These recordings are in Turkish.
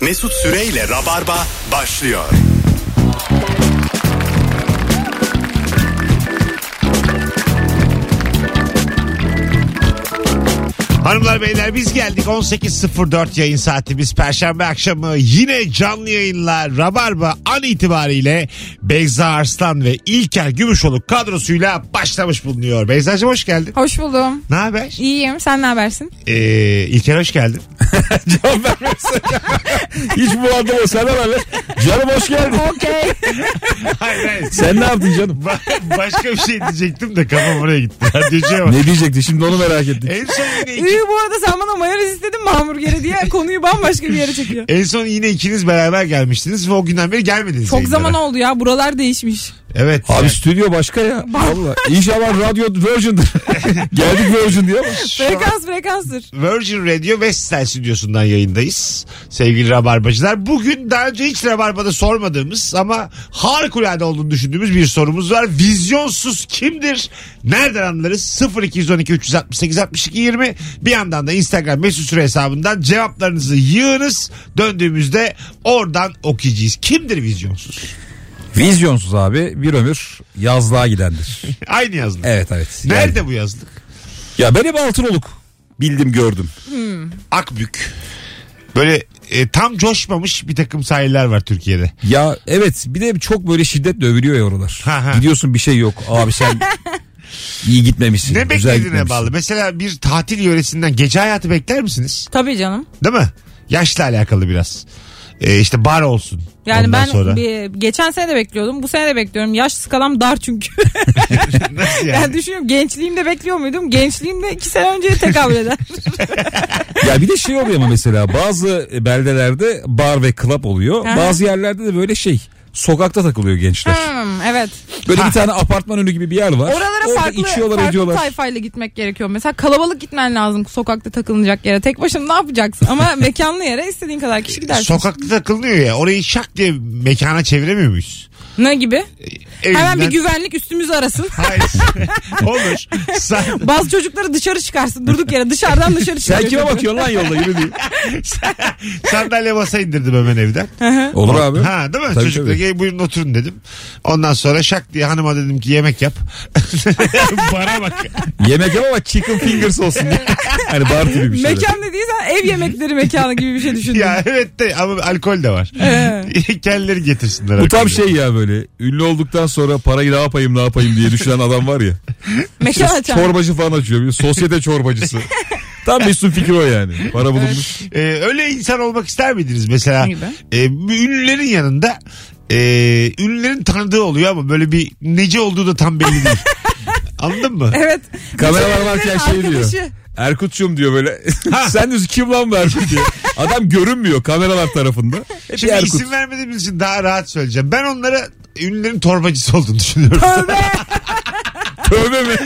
Mesut Süreyle Rabarba başlıyor. Hanımlar beyler biz geldik 18.04 yayın saatimiz Perşembe akşamı yine canlı yayınlar Rabarba an itibariyle Beyza Arslan ve İlker Gümüşoluk kadrosuyla başlamış bulunuyor. Beyza'cığım hoş geldin. Hoş buldum. Ne haber? İyiyim. Sen ne habersin? Ee, İlker hoş geldin. Cevap vermezse. Hiç bu adama sana ver. Canım hoş geldin. Okey. Hayır hayır. Sen ne yaptın canım? Ba- başka bir şey diyecektim de kafam oraya gitti. Radyocuya bak. Ne diyecekti şimdi onu merak ettik. En son yine iki- İyi bu arada sen bana mayonez istedin mi hamburgeri diye konuyu bambaşka bir yere çekiyor. en son yine ikiniz beraber gelmiştiniz ve o günden beri gelmediniz. Çok yayınlara. zaman oldu ya. Buralar değişmiş. Evet. Abi Yani stüdyo başka ya. Valla. İnşallah radyo virgin'dir. Geldik virgin diyor ama. şu an- Frekans frekanstır. Virgin Radio Vestel stüdyosundan yayındayız. Sevgili Rabarbacılar. Bugün daha önce hiç Rabarba'da sormadığımız ama harikulade olduğunu düşündüğümüz bir sorumuz var. Vizyonsuz kimdir? Nereden anlarız? 0212 368 62 20. Bir yandan da Instagram mesut süre hesabından cevaplarınızı yığınız. Döndüğümüzde oradan okuyacağız. Kimdir vizyonsuz? Vizyonsuz abi bir ömür yazlığa gidendir. Aynı yazlık. Evet evet. Yani- Nerede bu yazlık? Ya ben hep Altınoluk bildim gördüm. Akbük. Böyle e, tam coşmamış bir takım sahiller var Türkiye'de. Ya evet bir de çok böyle şiddetle övülüyor ya oralar. Ha, ha. Gidiyorsun bir şey yok. Abi sen iyi gitmemişsin. Ne güzel beklediğine gitmemişsin. bağlı. Mesela bir tatil yöresinden gece hayatı bekler misiniz? Tabii canım. Değil mi? Yaşla alakalı biraz. Ee, işte bar olsun. Yani Ondan ben sonra. bir- geçen sene de bekliyordum. Bu sene de bekliyorum. Yaş skalam dar çünkü. Nasıl yani yani? düşünüyorum gençliğimde bekliyor muydum? Gençliğimde iki sene önceye tekabül eder. Ya bir de şey oluyor ama mesela bazı beldelerde bar ve club oluyor. Aha. Bazı yerlerde de böyle şey sokakta takılıyor gençler. Hmm, evet. Böyle bir tane apartman önü gibi bir yer var. Oralara Orada farklı, içiyorlar farklı ediyorlar. tayfayla gitmek gerekiyor. Mesela kalabalık gitmen lazım sokakta takılınacak yere. Tek başına ne yapacaksın? Ama mekanlı yere istediğin kadar kişi gidersin. Sokakta takılınıyor ya. Orayı şak diye mekana çeviremiyor muyuz? Ee, Ne gibi? Hemen bir Evinden- güvenlik üstümüzü arasın. Hayır. Olur. Sen, Bazı çocukları dışarı çıkarsın. Durduk yere dışarıdan dışarı çıkıyor. Sen kime çocuğu. bakıyorsun lan yolda yürü diye. sandalye masa indirdim hemen evden. Olur abi. Ha değil mi? Tabii, Çocuklar tabii. "Gel buyurun oturun dedim. Ondan sonra şak diye hanıma dedim ki yemek yap. Bara bak. Yemek yap ama chicken fingers olsun diye. hani bar gibi bir şey. Mekan dediysen ev yemekleri mekanı gibi bir şey düşündüm. Ya evet de ama alkol de var. Kendileri getirsinler. Bu tam alkolü. şey ya böyle ünlü olduktan sonra parayı ne yapayım ne yapayım diye düşünen adam var ya. Mekan açan. Çorbacı falan açıyor. Bir sosyete çorbacısı. Tam Mesut'un fikri o yani. Para bulunmuş. Ee, öyle insan olmak ister miydiniz mesela? Gibi. E, ünlülerin yanında e, ünlülerin tanıdığı oluyor ama böyle bir nece olduğu da tam belli değil. Anladın mı? Evet. Kameralar varken şey diyor. Arkadaşı. Erkut'cum diyor böyle. Sen diyorsun kim lan bu Erkut diye. Adam görünmüyor kameralar tarafında. E, Hep Şimdi Erkut. isim vermediğimiz için daha rahat söyleyeceğim. Ben onlara ünlülerin torbacısı olduğunu düşünüyorum. Tövbe. Tövbe mi?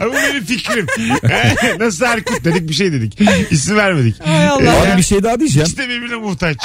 Bu benim fikrim. Ee, Nasıl Erkut dedik bir şey dedik. İsim vermedik. Hay Allah. Abi bir şey daha diyeceğim. İşte birbirine muhtaç.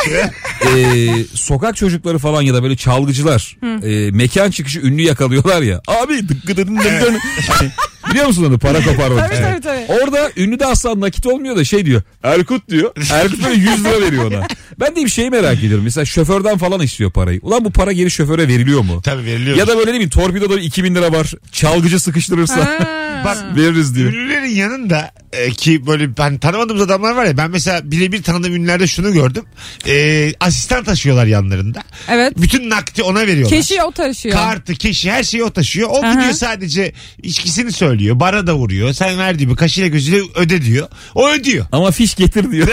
Ee, sokak çocukları falan ya da böyle çalgıcılar e, mekan çıkışı ünlü yakalıyorlar ya. Abi dıkkı dıdın dıdın dıdın. Hani, Biliyor musun onu para koparmak Tabii, tabii, için. tabii. Orada ünlü de asla nakit olmuyor da şey diyor. Erkut diyor. Erkut böyle 100 lira veriyor ona. Ben de bir şeyi merak ediyorum. Mesela şoförden falan istiyor parayı. Ulan bu para geri şoföre veriliyor mu? Tabii veriliyor. Ya da böyle ne bileyim torpidoda bir 2000 lira var. Çalgıcı sıkıştırırsa Bak veririz diyor. Ünlülerin yanında e, ki böyle ben tanımadığımız adamlar var ya ben mesela birebir tanıdığım ünlülerde şunu gördüm. E, asistan taşıyorlar yanlarında. Evet. Bütün nakdi ona veriyorlar. Keşi o taşıyor. Kartı, keşi her şeyi o taşıyor. O Aha. gidiyor sadece içkisini söylüyor. Bara da vuruyor. Sen ver diyor. Kaşıyla gözüyle öde diyor. O ödüyor. Ama fiş getir diyor.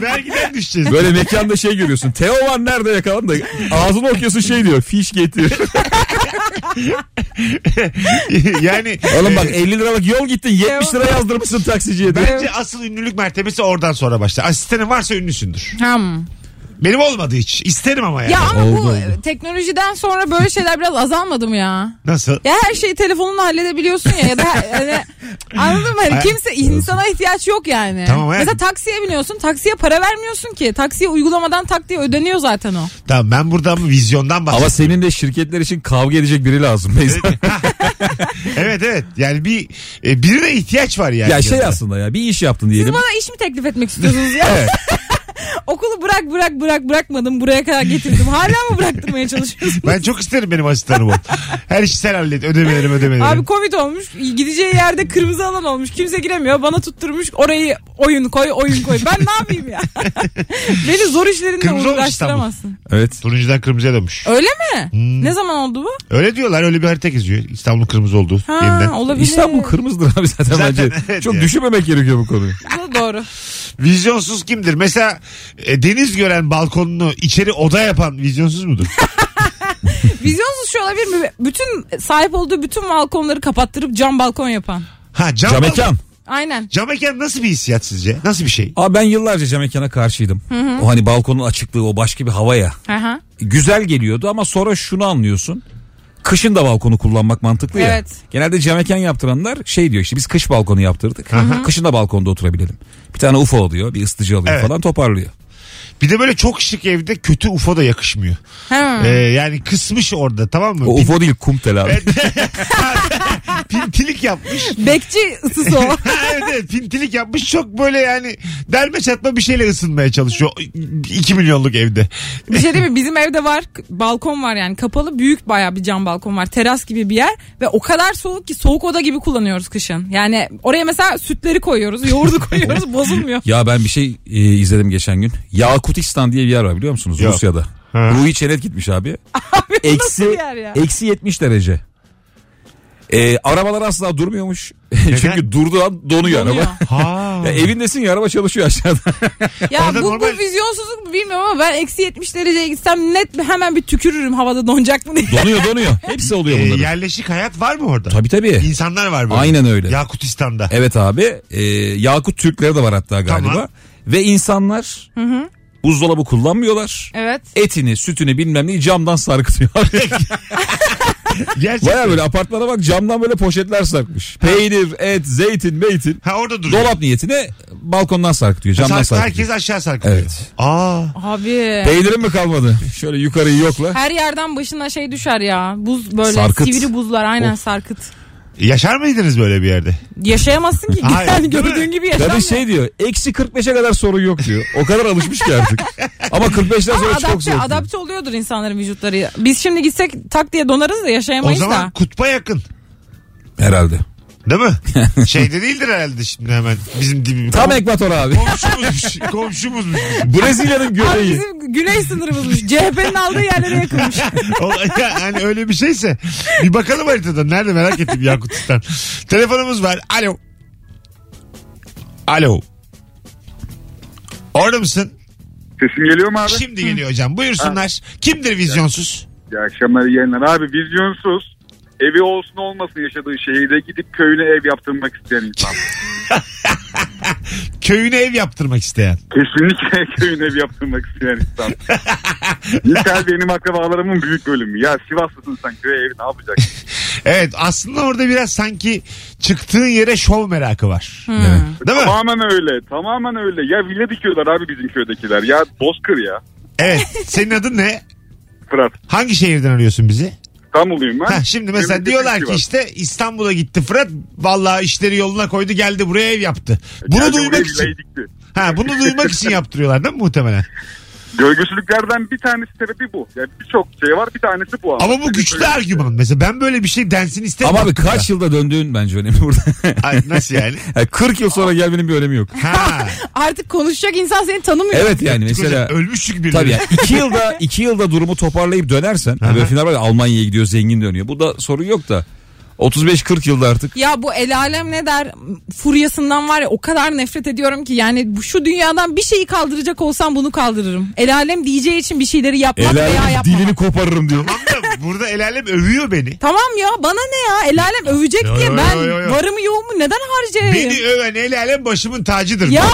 Vergiden düşeceğiz. Böyle mekanda şey görüyorsun. Teoman nerede yakalan da ağzını okuyorsun şey diyor. Fiş getir. yani Oğlum bak 50 liralık yol gittin 70 lira yazdırmışsın taksiciye diye. bence asıl ünlülük mertebesi oradan sonra başlar. Asistanın varsa ünlüsündür. Ham. Benim olmadı hiç. İsterim ama yani. Ya ama Oldu, bu oldu. e, teknolojiden sonra böyle şeyler biraz azalmadı mı ya? Nasıl? Ya her şeyi telefonla halledebiliyorsun ya ya da hani, anladın mı? Hani Ay- kimse insana ihtiyaç yok yani. Tamam hayatım. Mesela taksiye biniyorsun taksiye para vermiyorsun ki. Taksiye uygulamadan tak diye ödeniyor zaten o. Tamam ben burada ama vizyondan bahsediyorum. Ama senin de şirketler için kavga edecek biri lazım. Beyza. evet evet. Yani bir e, birine ihtiyaç var yani. ya şey Yanında. aslında ya bir iş yaptın Siz diyelim. bana iş mi teklif etmek istiyorsunuz ya? Okulu bırak bırak bırak bırakmadım buraya kadar getirdim. Hala mı bıraktırmaya çalışıyorsunuz? Ben çok isterim benim asistanım ol. Her işi sen hallet. Ödemelerim ödemelerim. Abi Covid olmuş. Gideceği yerde kırmızı alan olmuş. Kimse giremiyor. Bana tutturmuş. Orayı oyun koy, oyun koy. Ben ne yapayım ya? Beni zor işlerinle Kırmızı olmuş uğraştıramazsın. Evet. Turuncudan kırmızıya dönmüş. Öyle mi? Hmm. Ne zaman oldu bu? Öyle diyorlar öyle bir harita geziyor. İstanbul kırmızı oldu Ha, yeniden. olabilir. İstanbul kırmızıdır abi zaten, Zaten bence. evet Çok ya. düşünmemek gerekiyor bu konuyu. Bu da Doğru. Vizyonsuz kimdir? Mesela e, deniz gören balkonunu içeri oda yapan vizyonsuz mudur? Vizyonsuz şu olabilir mi? Bütün sahip olduğu bütün balkonları kapattırıp cam balkon yapan. Ha cam, Cam cam, mekan. Aynen. mekan nasıl bir hissiyat sizce? Nasıl bir şey? Abi ben yıllarca cam mekana karşıydım. O hani balkonun açıklığı o başka bir hava ya. Aha. Güzel geliyordu ama sonra şunu anlıyorsun. Kışın da balkonu kullanmak mantıklı ya. Evet. Genelde cam mekan yaptıranlar şey diyor işte biz kış balkonu yaptırdık. Kışın da balkonda oturabilelim. Bir tane UFO oluyor bir ısıtıcı alıyor Evet. falan toparlıyor. Bir de böyle çok şık evde kötü UFO da yakışmıyor. Ha. Ee, yani kısmış orada tamam mı? O UFO değil kum tel abi. Pintilik yapmış. Bekçi ısısı o. Ha, evet, evet pintilik yapmış çok böyle yani derme çatma bir şeyle ısınmaya çalışıyor 2 milyonluk evde. Bir şey değil mi? Bizim evde var k- balkon var yani kapalı büyük bayağı bir cam balkon var. Teras gibi bir yer ve o kadar soğuk ki soğuk oda gibi kullanıyoruz kışın. Yani oraya mesela sütleri koyuyoruz, yoğurdu koyuyoruz bozulmuyor. Ya ben bir şey e, izledim geçen gün. Yakutistan diye bir yer var biliyor musunuz Yok. Rusya'da. Ha. Ruhi Çenet gitmiş abi. nasıl bir yer ya? eksi 70 derece. E, arabalar asla durmuyormuş. Çünkü durduğu an donuyor, Donuyor. araba. Ha. Ya evindesin ya araba çalışıyor aşağıda. Ya Orada bu, normal- bu vizyonsuzluk mu bilmiyorum ama ben eksi 70 dereceye gitsem net bir- hemen bir tükürürüm havada donacak mı diye. donuyor donuyor. Hepsi oluyor Ee, bunların. yerleşik hayat var mı orada? Tabii tabii. İnsanlar var böyle. Aynen öyle. Yakutistan'da. Evet abi. E, Yakut Türkleri de var hatta galiba. Tamam. Ve insanlar buzdolabı kullanmıyorlar. Evet. Etini, sütünü bilmem neyi camdan sarkıtıyor. Gerçekten. Baya böyle apartmana bak camdan böyle poşetler sarkmış. Peynir, et, zeytin, meytin. Ha orada duruyor. Dolap niyetine balkondan sarkıtıyor, camdan Sark- sarkıtıyor. herkes aşağı sarkıyor. Evet. Aa. Abi. Peynirin mi kalmadı? Şöyle yukarıyı yokla. Her yerden başına şey düşer ya. Buz böyle Sarkıt. sivri buzlar aynen Of. sarkıt. Yaşar mıydınız böyle bir yerde? Yaşayamazsın ki. Hayır, yani değil mi? gördüğün gibi yaşamıyor. Tabii şey diyor, eksi 45'e kadar sorun yok diyor. O kadar alışmış ki artık. Ama 45'ten Ama sonra çok adapte, zor. adapte oluyordur insanların vücutları. Biz şimdi gitsek tak diye donarız da O yaşayamayız zaman da. kutba yakın. Herhalde. Değil mi? Şeyde değildir herhalde şimdi hemen. Bizim dibimiz. Tam ekvator abi. Komşumuzmuş. Komşumuzmuş. bizim. Brezilya'nın Abi göbeği. bizim güney sınırımızmış. CHP'nin aldığı yerlere yakınmış. O- yani öyle bir şeyse. Bir bakalım haritada. Nerede merak ettim Yakutistan. Telefonumuz var. Alo. Alo. Orada mısın? Sesim geliyor mu abi? Şimdi geliyor hocam. Buyursunlar. Kimdir vizyonsuz? İyi akşamlar iyi yayınlar. Abi vizyonsuz. Evi olsun olmasın yaşadığı şehirde gidip köyüne ev yaptırmak isteyen insan. Köyüne ev yaptırmak isteyen. Kesinlikle köyüne ev yaptırmak isteyen insan. Misal benim akrabalarımın büyük bölümü. Ya Sivaslısın sen köye evi ne yapacaksın? Evet aslında orada biraz sanki çıktığın yere şov merakı var. Evet. Değil mi? tamamen öyle. Tamamen öyle. Ya villa dikiyorlar abi bizim köydekiler. Ya bozkır ya. Evet. Senin adın ne? Fırat. Hangi şehirden arıyorsun bizi? İstanbul'uyum ben. Ha, şimdi mesela Memleketi diyorlar ki Sivas. işte İstanbul'a gitti Fırat. Vallahi işleri yoluna koydu geldi buraya ev yaptı. Bunu Geldi buraya duymak için. villayı dikti. Ha, bunu duymak için yaptırıyorlar değil mi muhtemelen? Gölgesizliklerden bir tanesi sebebi bu. Yani birçok şey var bir tanesi bu. Ama bu şey güçlü argüman. Mesela ben böyle bir şey densin istemiyorum. Ama abi kaç yılda döndüğün bence önemli burada. Ay, nasıl yani? Yani 40 yıl sonra gelmenin bir önemi yok. Ha. Artık konuşacak insan seni tanımıyor. Evet yani mesela Mesela... Ölmüş çünkü birileri. Tabii yani iki yılda iki yılda durumu toparlayıp dönersen. Aha. Hani böyle final var ya, Almanya'ya gidiyor zengin dönüyor. Bu da sorun yok da. 35-40 yılda artık. Ya bu el alem ne der furyasından var ya o kadar nefret ediyorum ki yani bu- şu dünyadan bir şeyi kaldıracak olsam bunu kaldırırım. El alem diyeceği için bir şeyleri yapmak veya yapmamak. koparırım diyor. Tamam da burada el alem övüyor beni. Tamam ya bana ne ya el alem övecek Yo, diye yo, ben yo, yo, yo. varımı yoğumu neden harcayayım? Beni öven el alem başımın tacıdır. Ya.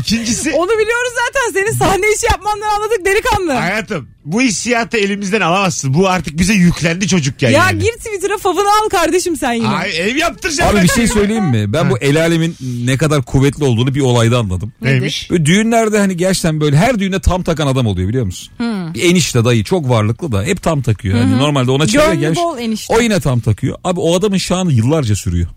İkincisi Onu biliyoruz zaten. Senin sahne işi yapmandan anladık delikanlı. hayatım bu hissiyatı elimizden alamazsın. Bu artık bize yüklendi çocukken. Ya yani. gir Twitter'a favını al kardeşim sen yine. Ay, ev yaptıracağım. Abi ben. bir şey söyleyeyim mi? Ben bu el alemin ne kadar kuvvetli olduğunu bir olayda anladım. Neymiş? Böyle düğünlerde hani gerçekten böyle her düğüne tam takan adam oluyor biliyor musun? Hmm. Bir enişte dayı çok varlıklı da hep tam takıyor. Yani normalde ona çevre Gönlü gelmiş. bol enişte. O yine tam takıyor. Abi o adamın şanı yıllarca sürüyor.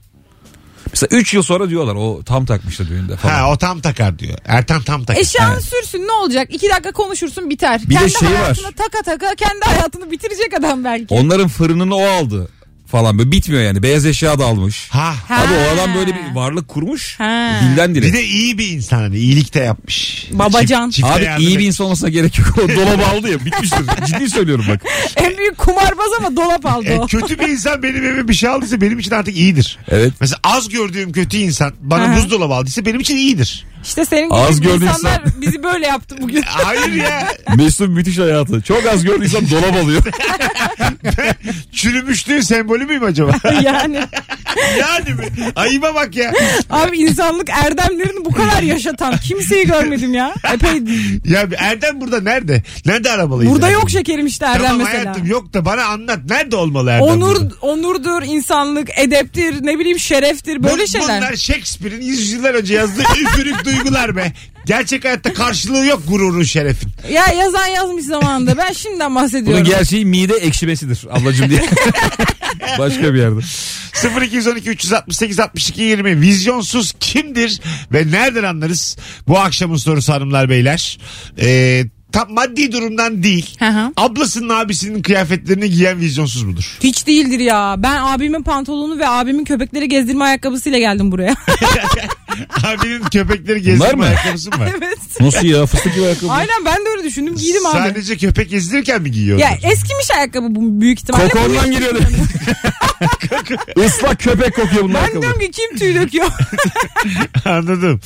Mesela 3 yıl sonra diyorlar o tam takmıştı düğünde falan. Ha o tam takar diyor. Ertan tam takar. E şu an sürsün ne olacak? İki dakika konuşursun biter. Bir de kendi şey var. hayatını taka taka kendi hayatını bitirecek adam belki. Onların fırınını o aldı falan böyle bitmiyor yani. Beyaz eşya da almış. Ha. Ha. Abi o adam böyle bir varlık kurmuş. Ha. Dilden dile. Bir de iyi bir insan hani iyilik de yapmış. Babacan. çifte Abi yardım iyi bir et- insan olmasına gerek yok. O dolabı aldı ya bitmiştir. Ciddi söylüyorum bak. En büyük kumarbaz ama dolap aldı E, o. kötü bir insan benim evime bir şey aldıysa benim için artık iyidir. Evet. Mesela az gördüğüm kötü insan Aha. bana buzdolabı aldıysa benim için iyidir. İşte senin Az gibi gördüğün insanlar bizi böyle yaptı bugün. Hayır ya. Mesut'un müthiş hayatı. Çok az gördüysem dolap alıyor. Çürümüşlüğün sembolü müyüm acaba? yani yani mi? Ayıba bak ya. abi insanlık erdemlerini bu kadar yaşatan kimseyi görmedim ya. Epey Ya bir Erdem burada nerede? Nerede arabalıyız? burada Erdem? yok şekerim işte erdem tamam, mesela. hayatım yok da bana anlat. Nerede olmalı Erdem? Onur burada? onurdur, insanlık, edeptir, ne bileyim şereftir böyle Bu- şeyler. Bunlar Shakespeare'in yüzyıllar önce yazdığı üfürük duygular be. Gerçek hayatta karşılığı yok gururun şerefin. Ya yazan yazmış zamanında. Ben şimdiden bahsediyorum. Bunun gerçeği mide ekşimesidir ablacım diye. Başka bir yerde. 0212 368 62 20 vizyonsuz kimdir ve nereden anlarız? Bu akşamın sorusu hanımlar beyler. Ee, tam maddi durumdan değil. Hı hı. Ablasının abisinin kıyafetlerini giyen vizyonsuz mudur? Hiç değildir ya. Ben abimin pantolonu ve abimin köpekleri gezdirme ayakkabısıyla geldim buraya. Abinin köpekleri gezdirme mı? ayakkabısı mı var? evet. Nasıl ya fıstık gibi ayakkabı. Aynen ben de öyle düşündüm. Giydim abi. Sadece köpek gezdirirken mi giyiyor? Ya eskimiş ayakkabı bu büyük ihtimalle. Koku ondan geliyordu. Islak köpek kokuyor bunun Ben ayakkabı. diyorum ki kim tüy döküyor? Anladım.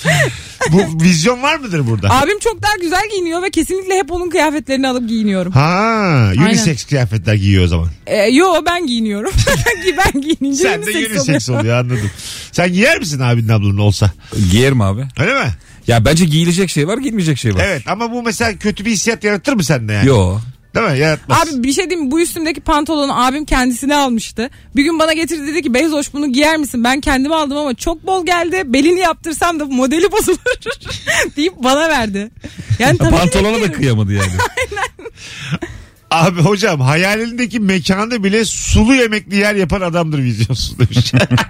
Bu vizyon var mıdır burada? Abim çok daha güzel giyiniyor ve kesinlikle hep onun kıyafetlerini alıp giyiniyorum. Ha, unisex kıyafetler giyiyor o zaman. Ee, yo ben giyiniyorum. ben giyinince Sen de unisex unisex oluyor. oluyor anladım. Sen giyer misin abinin ablanın olsa? Giyerim abi. Öyle mi? Ya bence giyilecek şey var giyilmeyecek şey var. Evet ama bu mesela kötü bir hissiyat yaratır mı sende yani? Yo. Değil mi? Yaratmaz. Abi bir şey diyeyim mi? Bu üstümdeki pantolonu abim kendisine almıştı. Bir gün bana getirdi dedi ki Beyzoş bunu giyer misin? Ben kendime aldım ama çok bol geldi. Belini yaptırsam da modeli bozulur deyip bana verdi. Yani tabii ki de Pantolona da giyerim. kıyamadı yani. Abi hocam hayalindeki mekanda bile sulu yemekli yer yapan adamdır vizyonsuz demiş.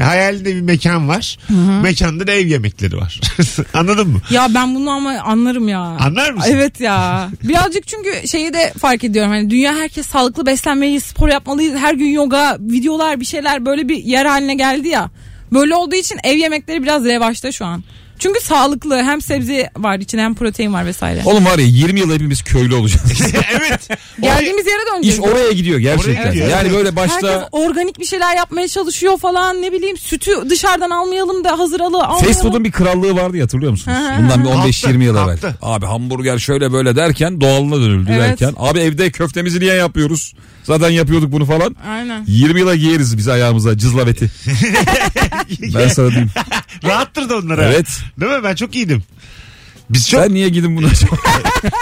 Hayalinde bir mekan var. Mekanda da ev yemekleri var. Anladın mı? Ya ben bunu ama anlarım ya. Anlar mısın? Evet ya. Birazcık çünkü şeyi de fark ediyorum. Hani dünya herkes sağlıklı beslenmeliyiz, spor yapmalıyız. Her gün yoga, videolar bir şeyler böyle bir yer haline geldi ya. Böyle olduğu için ev yemekleri biraz revaçta şu an. Çünkü sağlıklı hem sebze var içinde hem protein var vesaire. Oğlum var ya 20 yıl hepimiz köylü olacağız. evet. Geldiğimiz yere İş döneceğiz. oraya gidiyor gerçekten. Oraya gidiyor. Yani böyle Herkes başta organik bir şeyler yapmaya çalışıyor falan ne bileyim sütü dışarıdan almayalım da hazır alı almayalım. Fast food'un bir krallığı vardı ya, hatırlıyor musunuz? Hı hı Bundan bir Kalktı, 15-20 yıl evvel. kalktı. Abi hamburger şöyle böyle derken doğalına dönüldü Evet. derken. Abi evde köftemizi niye yapıyoruz? Zaten yapıyorduk bunu falan. Aynen. 20 yıla giyeriz biz ayağımıza cızlaveti. ben sana diyeyim. Rahattır da onlara. Evet. Değil mi? Ben çok iyiydim. Biz çok Sen niye gidin bunu acaba?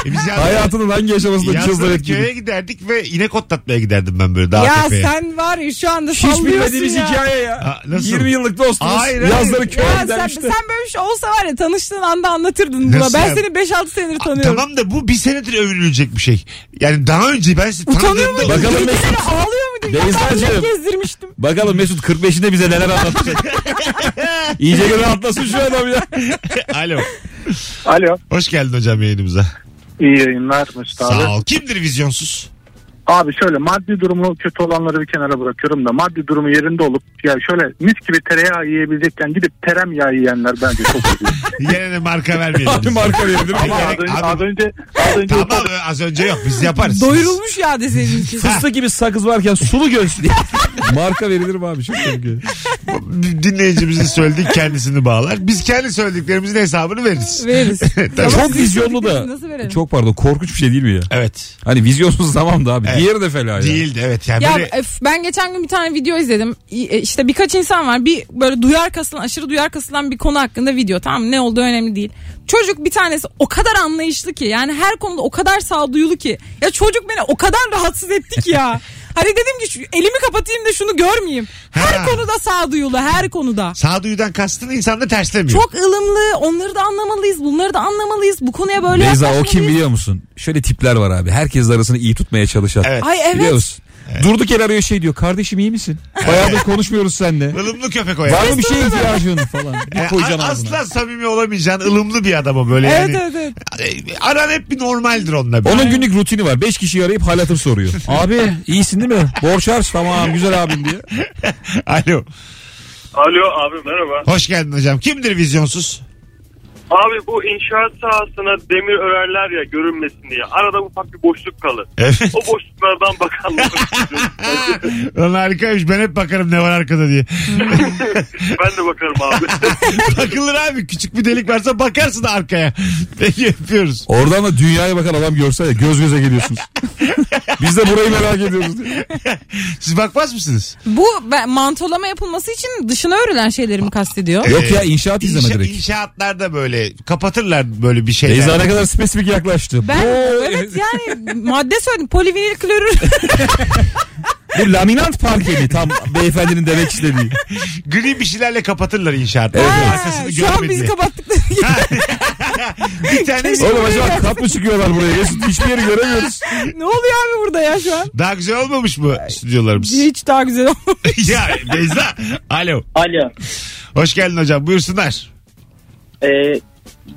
e, biz yalnız- Hayatının hangi aşamasında yalnız cızlavet köye giydin? giderdik ve inek otlatmaya giderdim ben böyle daha Ya tepeye. sen var ya şu anda Hiç sallıyorsun bilmediğimiz ya. hikaye ya. Ha, nasıl? 20 yıllık dostumuz. Hayır, hayır. Yazları köye Ya sen, gidermişti. sen böyle bir şey olsa var ya tanıştığın anda anlatırdın buna. Nasıl Ben ya? seni 5-6 senedir A, tanıyorum. Tamam da bu bir senedir övünülecek bir şey. Yani daha önce ben sizi Utanıyor tanıdığımda... muydun? Bakalım Bir Mesut. kere ağlıyor muydun? Ya ben Beyza'cığım. ne gezdirmiştim. Bakalım Mesut 45'inde bize neler anlatacak. İyice bir rahatlasın şu adam ya. Alo. Alo. Hoş geldin hocam yayınımıza. İyi yayınlar Mesut abi. Sağ ol. Kimdir vizyonsuz? Abi şöyle maddi durumu kötü olanları bir kenara bırakıyorum da maddi durumu yerinde olup ya şöyle mis gibi tereyağı yiyebilecekken gidip terem yağı yiyenler bence çok iyi. Yine de marka vermeyelim. Abi biz. marka verebilir miyim? Ama az Gerek- önce, abi- az önce, az önce Tamam az önce yok biz yaparız. Doyurulmuş ya deseydin ki. Fıstık gibi sakız varken sulu göğsü diye. Marka verilir mi abi? Çok komik. ya. Dinleyicimizin söylediği kendisini bağlar. Biz kendi söylediklerimizin hesabını veririz. Veririz. Ama çok sizin vizyonlu söylediklerinizi Nasıl verelim? da. Çok pardon korkunç bir şey değil mi ya? Evet. Hani vizyonsuz tamam da abi. Evet. Diğeri de fela ya. Değildi evet. Yani Ya e- böyle- öf, ben geçen gün bir tane video izledim. İ- e, İşte birkaç insan var. Bir böyle duyar kasılan, aşırı duyar kasılan bir konu hakkında video. Tamam mı? ne olduğu önemli değil. Çocuk bir tanesi o kadar anlayışlı ki yani her konuda o kadar sağduyulu ki. Ya çocuk beni o kadar rahatsız etti ki ya. Hani dedim ki şu- elimi kapatayım da şunu görmeyeyim. Her Ha. konuda sağduyulu, her konuda. Sağduyudan kastını insan da terslemiyor. Çok ılımlı. Onları da anlamalıyız. Bunları da anlamalıyız. Bu konuya böyle Beyza o yaklaşmalıyız. kim biliyor musun? Şöyle tipler var abi. Herkes arasını iyi tutmaya çalışan. Evet. Ay Biliyor evet. musun? Durduk yere arıyor şey diyor. Kardeşim iyi misin? Bayağıdır konuşmuyoruz seninle. Ilımlı köpek o yani. Var mı bir şeye ihtiyacın falan. Yani Bir koyacaksın E, a- ağzına. asla samimi olamayacağın ılımlı bir adam o böyle Evet yani. evet evet. E, Aran hep bir normaldir onunla. Bir. Onun günlük rutini var. Beş kişiyi arayıp hal hatır soruyor. abi iyisin değil mi? Borç harç tamam güzel abim diye. Alo. Alo abi merhaba. Hoş geldin hocam. Kimdir vizyonsuz? Abi bu inşaat sahasına demir örerler ya görünmesin diye. Arada ufak bir boşluk kalır. Evet. O boşluklardan bakanlar. Lan harikaymış ben hep bakarım ne var arkada diye. ben de bakarım abi. Bakılır abi küçük bir delik varsa bakarsın arkaya. Peki yapıyoruz. Oradan da dünyaya bakan adam görse ya göz göze geliyorsunuz. Biz de burayı merak ediyoruz diye. Siz bakmaz mısınız? Bu ben- mantolama yapılması için dışına örülen şeyleri mi kastediyor? Yok Ee, ya inşaat izleme İnşa- direkt. İnşaatlarda böyle kapatırlar böyle bir şeyler. Beyza ne kadar spesifik yaklaştı. Ben Bu- evet yani madde söyledim. Polivinil klorür. Bu laminant parkeli tam beyefendinin demek istediği. Gri bir şeylerle kapatırlar inşaatları. Arkasını Şu an görme bizi diye. kapattık. dedi. Bir tane Oğlum acaba kap mı çıkıyorlar buraya? Mesut hiçbir yeri göremiyoruz. ne oluyor abi burada ya şu an? daha güzel olmamış mı stüdyolarımız? Hiç daha güzel olmadı. ya Beyza. Alo. Alo. Hoş geldin hocam. Buyursunlar. Ee,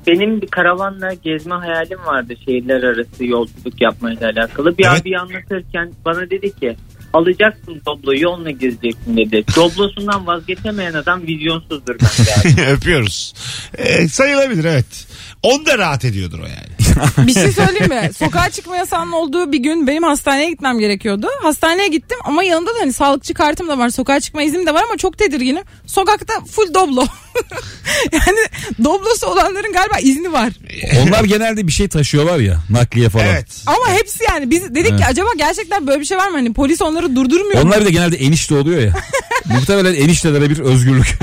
benim bir karavanla gezme hayalim vardı şehirler arası yolculuk yapmayla alakalı. Bir Evet. abi anlatırken bana dedi ki alacaksın Doblo'yu onunla gezeceksin dedi. Doblosundan vazgeçemeyen adam vizyonsuzdur bence abi. Öpüyoruz. Ee, sayılabilir evet. Onda rahat ediyordur o yani. Bir şey söyleyeyim mi? Sokağa çıkma yasağının olduğu bir gün benim hastaneye gitmem gerekiyordu. Hastaneye gittim ama yanımda da hani sağlıkçı kartım da var. Sokağa çıkma iznim de var ama çok tedirginim. Sokakta full doblo. yani doblosu olanların galiba izni var. Onlar genelde bir şey taşıyorlar ya nakliye falan. Evet. Ama hepsi yani biz dedik ki acaba gerçekten böyle bir şey var mı? Hani polis onları durdurmuyor. mu? Onlar bir de genelde enişte oluyor ya. Muhtemelen eniştelere bir özgürlük.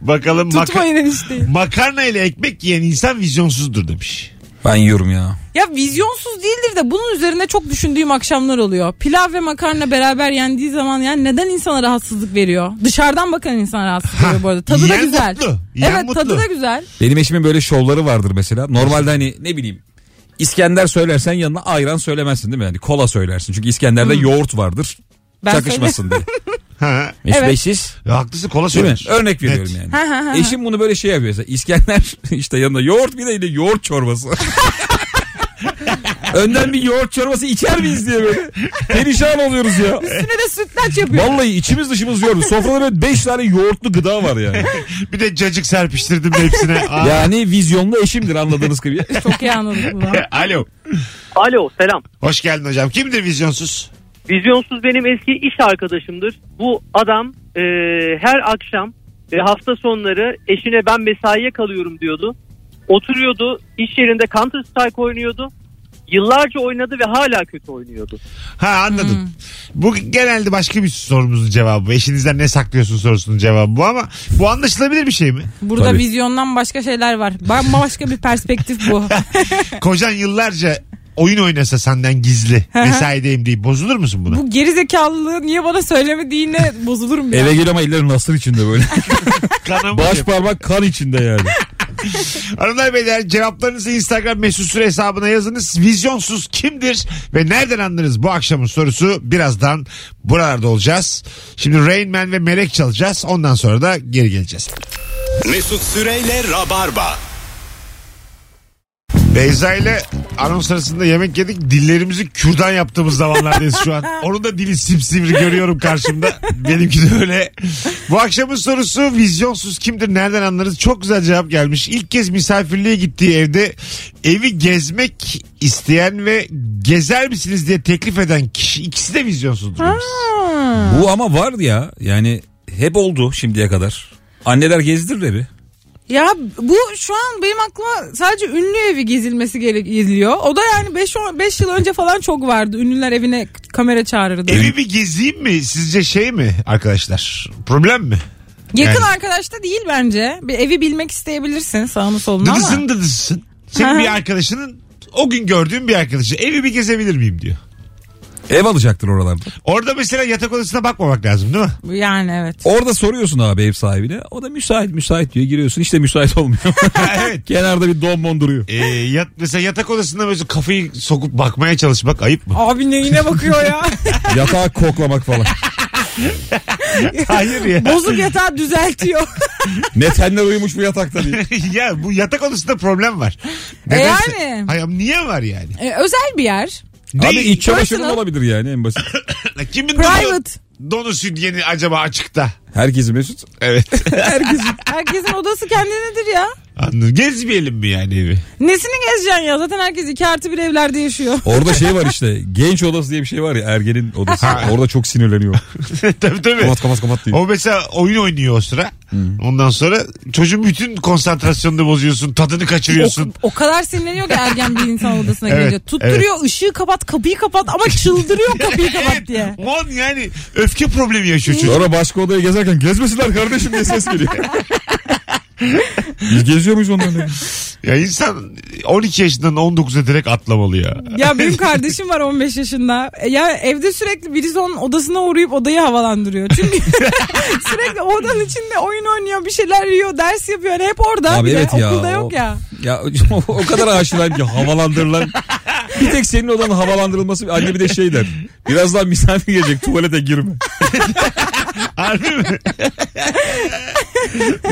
Bakalım maka- Tutmayın enişteyi. makarna ile ekmek yiyen insan vizyonsuzdur demiş. ben yiyorum ya. Ya vizyonsuz değildir de bunun üzerine çok düşündüğüm akşamlar oluyor. Pilav ve makarna beraber yendiği zaman yani neden insana rahatsızlık veriyor? Dışarıdan bakan insana rahatsızlık veriyor bu arada. Tadı da Yiyen güzel. mutlu. Yiyen Evet mutlu. tadı da güzel. Benim eşimin böyle şovları vardır mesela. Normalde hani ne bileyim İskender söylersen yanına ayran söylemezsin değil mi? Yani kola söylersin. Çünkü İskender'de yoğurt vardır. Hmm. Ben çakışmasın diye. Ha. Mesut Evet. Bey siz? Ya E, haklısın kola Değil mi? söylemiş. Örnek veriyorum Net. Ha, ha, ha, ha. yani. Eşim bunu böyle şey yapıyor. Mesela İskender işte yanında yoğurt bir de yine yoğurt çorbası. Önden bir yoğurt çorbası içer miyiz diye böyle. Perişan oluyoruz ya. Üstüne de sütlaç yapıyor. Vallahi içimiz dışımız yoğurt. Sofrada böyle 5 tane yoğurtlu gıda var yani. Bir de cacık serpiştirdim de hepsine. Aa. Yani vizyonlu eşimdir anladığınız gibi. Çok iyi anladık bunu. Alo. Alo selam. Hoş geldin hocam. Kimdir vizyonsuz? Vizyonsuz benim eski iş arkadaşımdır. Bu adam e, her akşam ve hafta sonları eşine ben mesaiye kalıyorum diyordu. Oturuyordu iş yerinde Counter Strike oynuyordu. Yıllarca oynadı ve hala kötü oynuyordu. Ha anladım. Bu genelde başka bir sorumuzun cevabı. Eşinizden ne saklıyorsun sorusunun cevabı bu ama bu anlaşılabilir bir şey mi? Burada Tabii. vizyondan başka şeyler var. Bambaşka bir perspektif bu. Kocan yıllarca oyun oynasa senden gizli mesaideyim deyip bozulur musun buna? bu gerizekalılığı niye bana söylemediğine bozulurum ya. Eve gel ama ellerin nasır içinde böyle. Kanamı Baş parmak kan içinde yani. Hanımlar beyler cevaplarınızı Instagram mesut süre hesabına yazınız. Vizyonsuz kimdir ve nereden anlarız bu akşamın sorusu birazdan buralarda olacağız. Şimdi Rain Man ve Melek çalacağız. Ondan sonra da geri geleceğiz. Mesut Süreyle Rabarba. Beyza ile anons sırasında yemek yedik. Dillerimizi kürdan yaptığımız zamanlardayız şu an. Onun da dili simsivri görüyorum karşımda. Benimki de öyle. Bu akşamın sorusu vizyonsuz kimdir nereden anlarız? Çok güzel cevap gelmiş. İlk kez misafirliğe gittiği evde evi gezmek isteyen ve gezer misiniz diye teklif eden kişi ikisi de vizyonsuzdur. demiş. Bu ama var ya yani hep oldu şimdiye kadar. Anneler gezdirir evi. Ya bu şu an benim aklıma sadece ünlü evi gezilmesi gere- geziliyor. O da yani 5 yıl önce falan çok vardı. Ünlüler evine kamera çağırırdı. Evi bir gezeyim mi? Sizce şey mi arkadaşlar? Problem mi? Yakın Yani. arkadaş da değil bence. Bir evi bilmek isteyebilirsin sağını solunu ama. Dıdısın dıdısın. Senin Aha. bir arkadaşının o gün gördüğün bir arkadaşı evi bir gezebilir miyim diyor. Ev alacaktır oralarda. Orada mesela yatak odasına bakmamak lazım değil mi? Yani evet. Orada soruyorsun abi ev sahibine. O da müsait müsait diyor giriyorsun. İşte müsait olmuyor. evet. Kenarda bir donbon duruyor. Ee, yat, mesela yatak odasında böyle kafayı sokup bakmaya çalışmak ayıp mı? Abi neyine bakıyor ya? Yatağı koklamak falan. Hayır ya. Bozuk yatağı düzeltiyor. Ne tenler uyumuş bu yatakta diye. ya bu yatak odasında problem var. yani. Hayır, niye var yani? E, özel bir yer. Abi Değil. iç çamaşırın personal. olabilir yani en basit. Kimin Private. donu, donu sütyeni acaba açıkta? Herkesi mesut. Evet. Herkesin, herkesin odası kendinedir ya. Anladım. Gezmeyelim mi yani evi? Nesini gezeceksin ya? Zaten herkes iki artı bir evlerde yaşıyor. Orada şey var işte genç odası diye bir şey var ya ergenin odası. Orada çok sinirleniyor. tabii tabii. Kapat kapat kapat diyor. O mesela oyun oynuyor o sıra. Ondan sonra çocuğun bütün konsantrasyonunu bozuyorsun. Tadını kaçırıyorsun. O, o kadar sinirleniyor ki ergen bir insan odasına Evet, girince. Tutturuyor ışığı kapat kapıyı kapat ama çıldırıyor kapıyı kapat diye. On yani öfke problemi yaşıyor çocuk. Sonra başka odaya gezerken gezmesinler kardeşim diye ses geliyor. Biz geziyor muyuz onların? Ya insan 12 yaşından 19'a direkt atlamalı ya. Ya benim kardeşim var 15 yaşında. E Ya evde sürekli birisi onun odasına uğrayıp odayı havalandırıyor. Çünkü sürekli odanın içinde oyun oynuyor, bir şeyler yiyor, ders yapıyor. Yani hep orada. Abi bir de evet ya. Okulda o- yok ya. Ya o, o kadar aşinayım ki havalandırılan. Bir tek senin odanın havalandırılması anne bir de şey der. Birazdan misafir gelecek tuvalete girme. Harbi mi?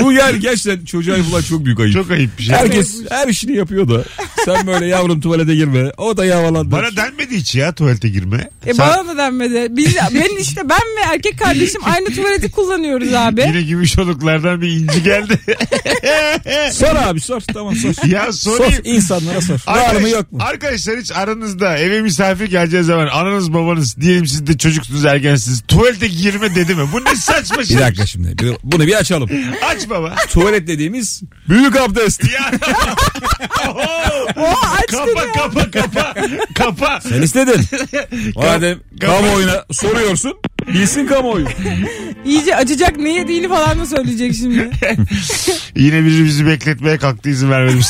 Bu yani gerçekten çocuğa yapılan çok büyük ayıp. Çok ayıp bir şey. Herkes her işini yapıyor da sen böyle yavrum tuvalete girme. O da havalandır. Bana denmedi hiç ya tuvalete girme. E Sen bana da denmedi. Biz, ben işte ben ve erkek kardeşim aynı tuvaleti kullanıyoruz abi. Yine gümüş oluklardan bir inci geldi. Sor abi sor tamam sor. ya Sor sorayım. insanlara sor. Var Arkadaş- mı yok mu? Arkadaşlar hiç aranızda eve misafir geleceği zaman ananız babanız diyelim siz de çocuksunuz ergensiniz tuvalete girme dedi mi? Bu ne saçma şey. Bir dakika şimdi bir- bunu bir açalım. Aç baba. Tuvalet dediğimiz büyük abdest. Ya. O aç dedi. kapa kapa kapa. Kapa. Sen istedin. Madem Kapat. kamuoyuna soruyorsun bilsin kamuoyu. İyice acıcak ne yediğini falan mı söyleyecek şimdi? Yine biri bizi bekletmeye kalktı izin vermedim.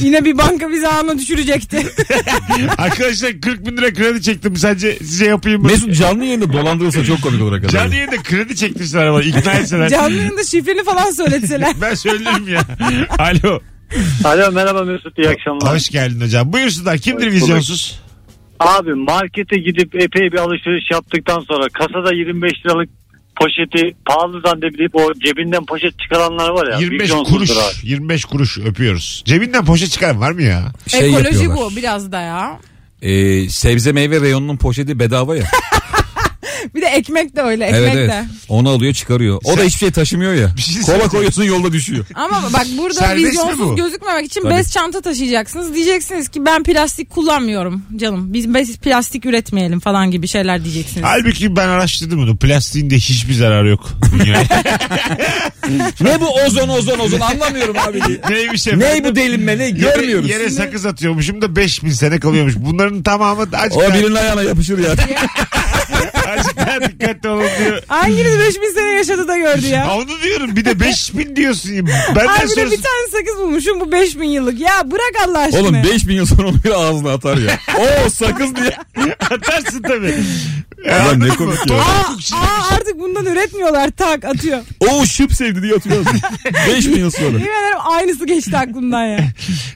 Yine bir banka bizi ağına düşürecekti. Arkadaşlar 40 bin lira kredi çektim. Sence size yapayım mı? Mesut canlı yayında dolandırılsa çok komik olur arkadaşlar. Canlı yayında kredi çektirsinler ama ikna etseler. Canlı yayında şifreni falan söyletseler. Ben söylerim ya. Alo. Alo merhaba Mesut iyi akşamlar. Hoş geldin hocam. Buyursunlar. Kimdir Hoş vizyonsuz? Abi markete gidip epey bir alışveriş yaptıktan sonra kasada 25 liralık poşeti pahalı zannedip o cebinden poşet çıkaranlar var ya. 25 vizyonsuzdur kuruş. abi. 25 kuruş öpüyoruz. Cebinden poşet çıkaran var mı ya? Şey Ekoloji yapıyorlar. bu biraz da ya. Ee, sebze meyve reyonunun poşeti bedava ya. Bir de ekmek de öyle ekmek evet de. evet. Onu alıyor çıkarıyor. O da hiçbir şey taşımıyor ya. Bir şey Kola söyleyeceğim. koyuyorsun yolda düşüyor. Ama bak burada Serbest mi bu? vizyonsuz gözükmemek için Tabii. bez çanta taşıyacaksınız. Diyeceksiniz ki ben plastik kullanmıyorum canım. Biz bez plastik üretmeyelim falan gibi şeyler diyeceksiniz. Halbuki ben araştırdım bunu. Plastiğin de hiçbir zararı yok. dünyaya. ne bu ozon ozon ozon anlamıyorum abi diye. Neymiş efendim? ne bu delinme ne Yere- görmüyoruz. Yere, sakız atıyormuşum da 5000 sene kalıyormuş. Bunların tamamı azıcık, o daha, birinin ayağına yapışır ya. azıcık daha dikkatli olun diyor. Hanginiz 5000 sene yaşadı da gördü Ha, ya. onu diyorum bir de 5000 diyorsun. ya. Benden Ay bir de sonrası bir tane sakız bulmuşum bu 5000 yıllık. Ya bırak Allah aşkına. Oğlum 5000 yıl sonra onu bir ağzına atar ya. Oo sakız diye. atarsın tabii. Ya, Ulan ne anladın mı? komik ya. Doğru şey- Aa, hukuk şimdi. aa, artık bundan üretmiyorlar tak atıyor. Oo şıp sevdi diye atıyor. 5000 yıl sonra. Yemin ederim aynısı geçti aklımdan ya.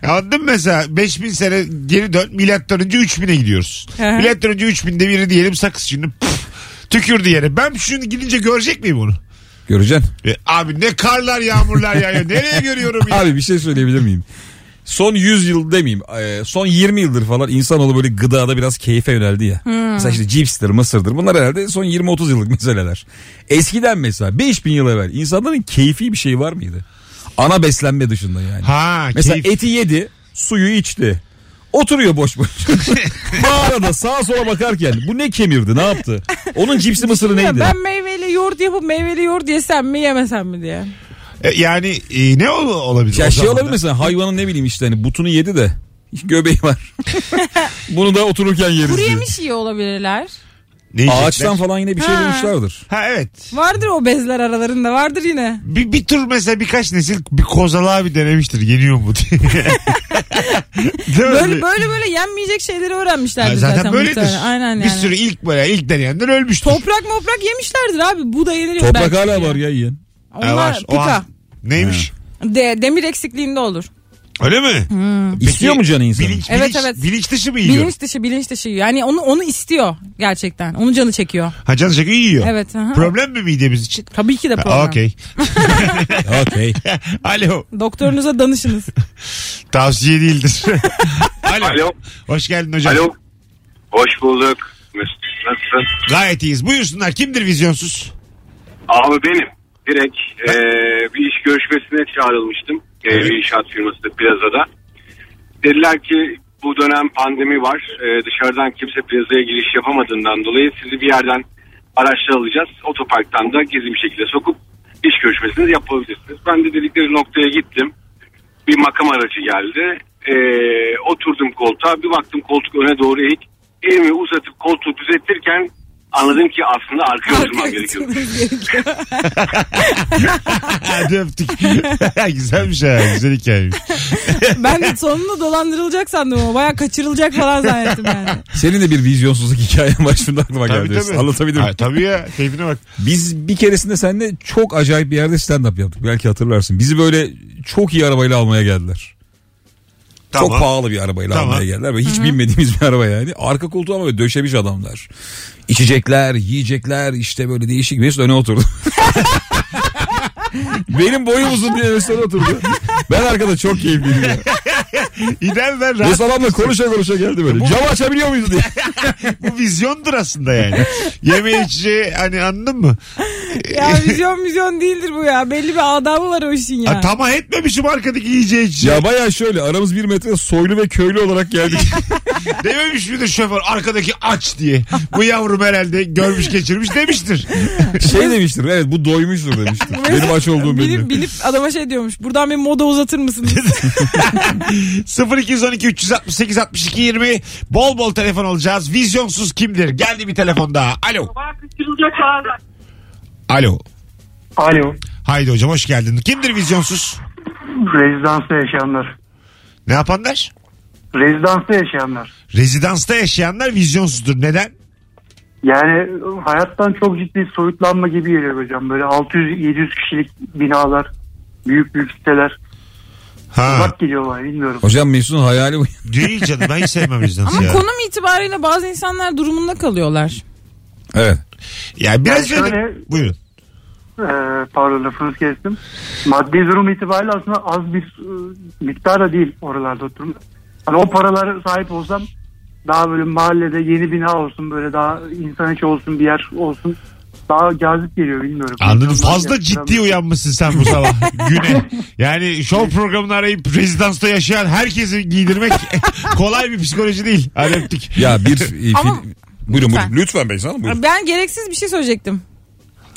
Anladın mı mesela 5000 sene geri dön milattan önce 3000'e gidiyoruz. Hı hı. milattan önce 3000'de biri diyelim sakız şimdi püf, tükürdü yere. Ben şunu gidince görecek miyim onu? Göreceksin. E, abi ne karlar yağmurlar yağıyor. Nereye görüyorum ya? Abi bir şey söyleyebilir miyim? son 100 yıl demeyeyim e, son 20 yıldır falan insanoğlu böyle gıdada biraz keyfe yöneldi ya. Mesela işte cipstir, mısırdır bunlar herhalde son 20-30 yıllık meseleler. Eskiden mesela 5000 yıl evvel insanların keyfi bir şey var mıydı? Ana beslenme dışında yani. Ha Mesela keyif. eti yedi, suyu içti. Oturuyor boş boş. Mağarada sağa sola bakarken bu ne kemirdi ne yaptı? Onun cipsi mısırı Ya neydi? Ben meyveli yoğurt yapıp meyveli yoğurt yesem mi yemesem mi diye. E, yani e, ne ol- olabilir? Ya o şey zaman da? olabilir mesela hayvanın ne bileyim işte hani butunu yedi de göbeği var. Bunu da otururken yeriz. Kuru diyor. yemiş yiyor olabilirler. Ne yiyecekler? Ağaçtan falan yine bir şey Ha. bulmuşlardır. Ha evet. Vardır o bezler aralarında vardır yine. Bir, bir tur mesela birkaç nesil bir kozalığa bir denemiştir. Yeniyor mu diye. Değil mi? Böyle böyle böyle yenmeyecek şeyleri öğrenmişlerdir Ha, zaten. zaten, böyledir. muhtemelen. Aynen yani. Bir sürü ilk böyle ilk deneyenler ölmüştür. Toprak moprak yemişlerdir abi. Bu da yeniliyor. Toprak belki hala diye. var ya yiyen. Ha, Onlar var. O pika. an- Neymiş? De, demir eksikliğinde olur. Öyle mi? Peki, İstiyor mu canı insan? Bilinç, Evet, bilinç, evet. bilinç dışı mı yiyor? Bilinç dışı bilinç dışı yiyor. Yani onu onu istiyor gerçekten. Onu canı çekiyor. Ha canı çekiyor yiyor. Evet. aha. Problem mi midemiz için? Tabii ki de Ha, problem. Okey. Okey. Alo. Doktorunuza danışınız. Tavsiye değildir. Alo. Alo. Hoş geldin hocam. Alo. Hoş bulduk. Mesut nasılsın? Gayet iyiyiz. Buyursunlar. Kimdir vizyonsuz? Abi benim direkt e, bir iş görüşmesine çağrılmıştım. E, Evet. Bir inşaat firmasında plazada. Dediler ki bu dönem pandemi var. E, dışarıdan kimse plazaya giriş yapamadığından dolayı sizi bir yerden araçla alacağız. Otoparktan da gizli bir şekilde sokup iş görüşmesini yapabilirsiniz. Ben de dedikleri noktaya gittim. Bir makam aracı geldi. E, oturdum koltuğa. Bir baktım koltuk öne doğru eğik. Elimi uzatıp koltuğu düzeltirken anladım ki aslında arkaya oturmam gerekiyor. gerekiyor. Hadi öptük. Güzelmiş ha. Güzel hikayeymiş. ben de sonunu dolandırılacak sandım ama baya kaçırılacak falan zannettim yani. Senin de bir vizyonsuzluk hikayen var şimdi aklıma tabii geldi. tabii. Anlatabilir Ha, miyim? tabii ya. Keyfine bak. Biz bir keresinde seninle çok acayip bir yerde stand-up yaptık. Belki hatırlarsın. Bizi böyle çok iyi arabayla almaya geldiler. Çok Tamam. pahalı bir arabayla Tamam. almaya geldiler ve hiç binmediğimiz bir araba yani. Arka koltuğa ama böyle döşemiş adamlar. İçecekler, yiyecekler işte böyle değişik. Mesut öne oturdu. Benim boyum uzun diye Mesut öne oturdu. Ben arkada çok keyifliydim ya. İdem ben rahat Mesut adamla konuşa konuşa geldi böyle. Cam açabiliyor muyuz diye. bu vizyondur aslında yani. Yeme içeceği hani anladın mı? Ya vizyon vizyon değildir bu ya. Belli bir adamı var o işin ya. Ha, tamah etmemişim arkadaki yiyeceği içeceği. Ya baya şöyle aramız bir metre soylu ve köylü olarak geldik. Dememiş midir şoför arkadaki aç diye. Bu yavrum herhalde görmüş geçirmiş demiştir. şey demiştir evet bu doymuştur demiştir. Benim aç olduğum Binip, belli. binip adama şey diyormuş. Buradan bir moda uzatır mısınız? 0212 368 62 20 bol bol telefon alacağız. Vizyonsuz kimdir? Geldi bir telefon daha. Alo. Alo. Alo. Haydi hocam hoş geldin. Kimdir vizyonsuz? Rezidansta yaşayanlar. Ne yapanlar? Rezidansta yaşayanlar. Rezidansta yaşayanlar vizyonsuzdur. Neden? Yani hayattan çok ciddi soyutlanma gibi geliyor hocam. Böyle 600-700 kişilik binalar, büyük büyük siteler. Ha. Uzak geliyor bana bilmiyorum. Hocam Mesut'un hayali bu. Değil canım ben hiç sevmem rezidansı Ama ya. konum itibariyle bazı insanlar durumunda kalıyorlar. Evet. Ya biraz Yani öyle- şöyle- Buyurun. Ee, pardon lafınızı kestim. Maddi durum itibariyle aslında az bir e, miktar da değil oralarda oturmak. Hani o paralara sahip olsam daha böyle mahallede yeni bina olsun böyle daha insan içi olsun bir yer olsun daha cazip geliyor bilmiyorum. Anladım. İnsanlar Fazla gerçekten- ciddi uyanmışsın sen bu sabah güne. Yani show programını arayıp rezidansta yaşayan herkesi giydirmek kolay bir psikoloji değil. Hadi öptük. Ya bir e, film... Ama- Buyurun Lütfen. buyurun. Lütfen Bey sana buyurun. Ben gereksiz bir şey söyleyecektim.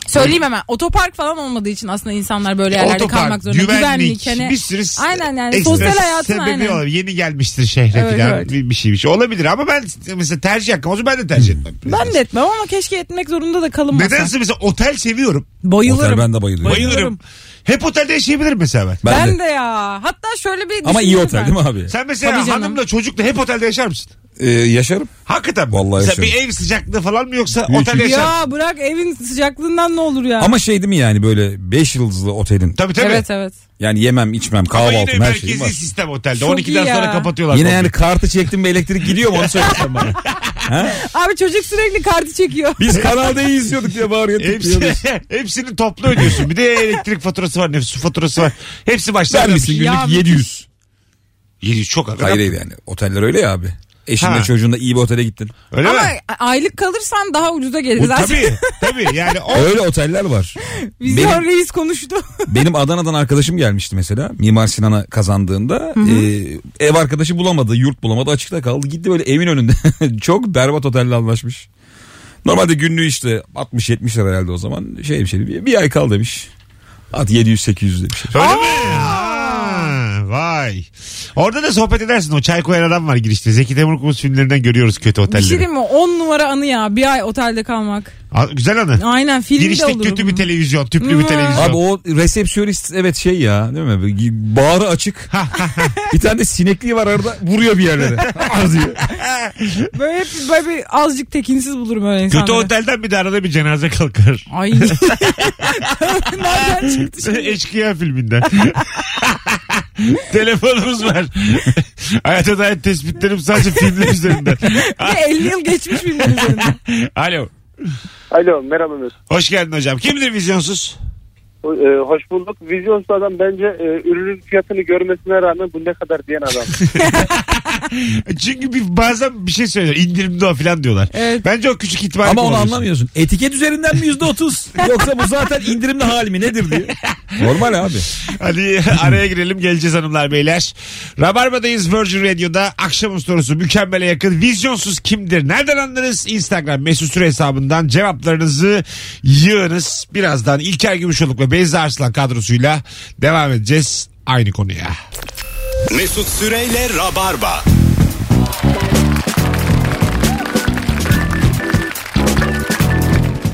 Söyleyeyim hemen. Otopark falan olmadığı için aslında insanlar böyle yerlerde kalmak zorunda. güvenlik, hani- şey. bir sürü s- Aynen yani ekstra sosyal hayatın sebebi aynen. olabilir. Yeni gelmiştir şehre Evet, falan evet. bir, bir şey bir şey. Olabilir ama ben mesela tercih hakkım olsa ben de tercih etmem. Ben de etmem ama keşke etmek zorunda da kalınmasa. Nedense mesela otel seviyorum. Bayılırım. Otel ben de bayılıyorum. Bayılırım. Bayılırım. Hep otelde yaşayabilirim mesela ben. Ben, Ben, de. de. ya. Hatta şöyle bir Ama iyi düşündüm otel ben. değil mi abi? Sen Tabii mesela canım. hanımla çocukla hep otelde yaşar mısın? Ee, yaşarım. Hakikaten mi? Vallahi Mesela bir yaşarım. ev sıcaklığı falan mı yoksa Büyük otel yaşar mısın? Ya bırak evin sıcaklığından ne olur ya. Ama şey değil mi yani böyle 5 yıldızlı otelin. Tabii tabii. evet evet. Yani yemem içmem Ama yine kahvaltım her merkezi şeyim var. sistem otelde. Çok 12'den iyi ya. sonra kapatıyorlar. Yine komple. yani kartı çektim bir elektrik gidiyor mu onu söylesen bana. Abi çocuk sürekli kartı çekiyor. şey Biz Kanal D'yi izliyorduk diye bağırıyor. Hepsi, tıklıyoruz. hepsini toplu ödüyorsun. Bir de elektrik faturası var, nefes su faturası var. Hepsi başlar. Sen misin Ya- günlük 700. Yedi çok aga. Hayır hayır yani. Oteller öyle ya abi. Eşinle Ha. çocuğunla iyi bir otele gittin. Öyle Ama mi? aylık kalırsan daha ucuza gelir. Bu, Zaten tabii tabii yani o Öyle oteller var. Vizyon Benim- reis konuştu. Benim Adana'dan arkadaşım gelmişti mesela. Mimar Sinan'a kazandığında e, ev arkadaşı bulamadı, yurt bulamadı, açıkta kaldı. Gitti böyle evin önünde. Çok berbat otelle anlaşmış. Normalde günlüğü işte 60-70 lira herhalde o zaman. Şey hemşerim bir, bir ay kal demiş. At 700-800 demiş. Öyle mi? Ha, Vay. Orada da sohbet edersin. O çay koyan adam var girişte. Zeki Demirkubuz filmlerinden görüyoruz kötü Bir otelleri. şey diyeyim mi? 10 numara anı ya. Bir ay otelde kalmak. Aa, Güzel anı. Aynen filmde Girişte olur. kötü bir televizyon, tüplü bir Hmm. televizyon. Abi o resepsiyonist evet şey ya değil mi? Bir Bağrı açık. bir tane de sinekliği var arada vuruyor bir yerlere. Az diyor. Böyle, hep böyle bir azıcık tekinsiz bulurum öyle kötü insanları. otelden bir de arada bir cenaze kalkar. Ay. Nereden çıktı şimdi? Eşkıya filminden. Telefonumuz var. Hayata dair tespitlerim sadece filmler üzerinden. Bir de 50 yıl geçmiş filmin üzerinden. Alo. Alo merhaba Mesut. Hoş geldin hocam. Kimdir vizyonsuz? O- e, hoş bulduk. Vizyonsuz adam bence e, ürünün fiyatını görmesine rağmen bu ne kadar diyen adam. Çünkü bir, bazen bir şey söylüyor. İndirimde o falan diyorlar. Evet. Bence o küçük ihtimal Ama onu kullanıyorsun. anlamıyorsun. Etiket üzerinden mi yüzde otuz? Yoksa bu zaten indirimli hali mi nedir diye. Normal abi. Hadi araya girelim geleceğiz hanımlar beyler. Rabarba'dayız Virgin Radio'da. Akşamın sorusu mükemmele yakın. Vizyonsuz kimdir? Nereden anlarız? Instagram mesut süre hesabından cevaplarınızı yığınız. Birazdan İlker Gümüşoluk ve Beyza Arslan kadrosuyla devam edeceğiz aynı konuya. Mesut Süreyle Rabarba.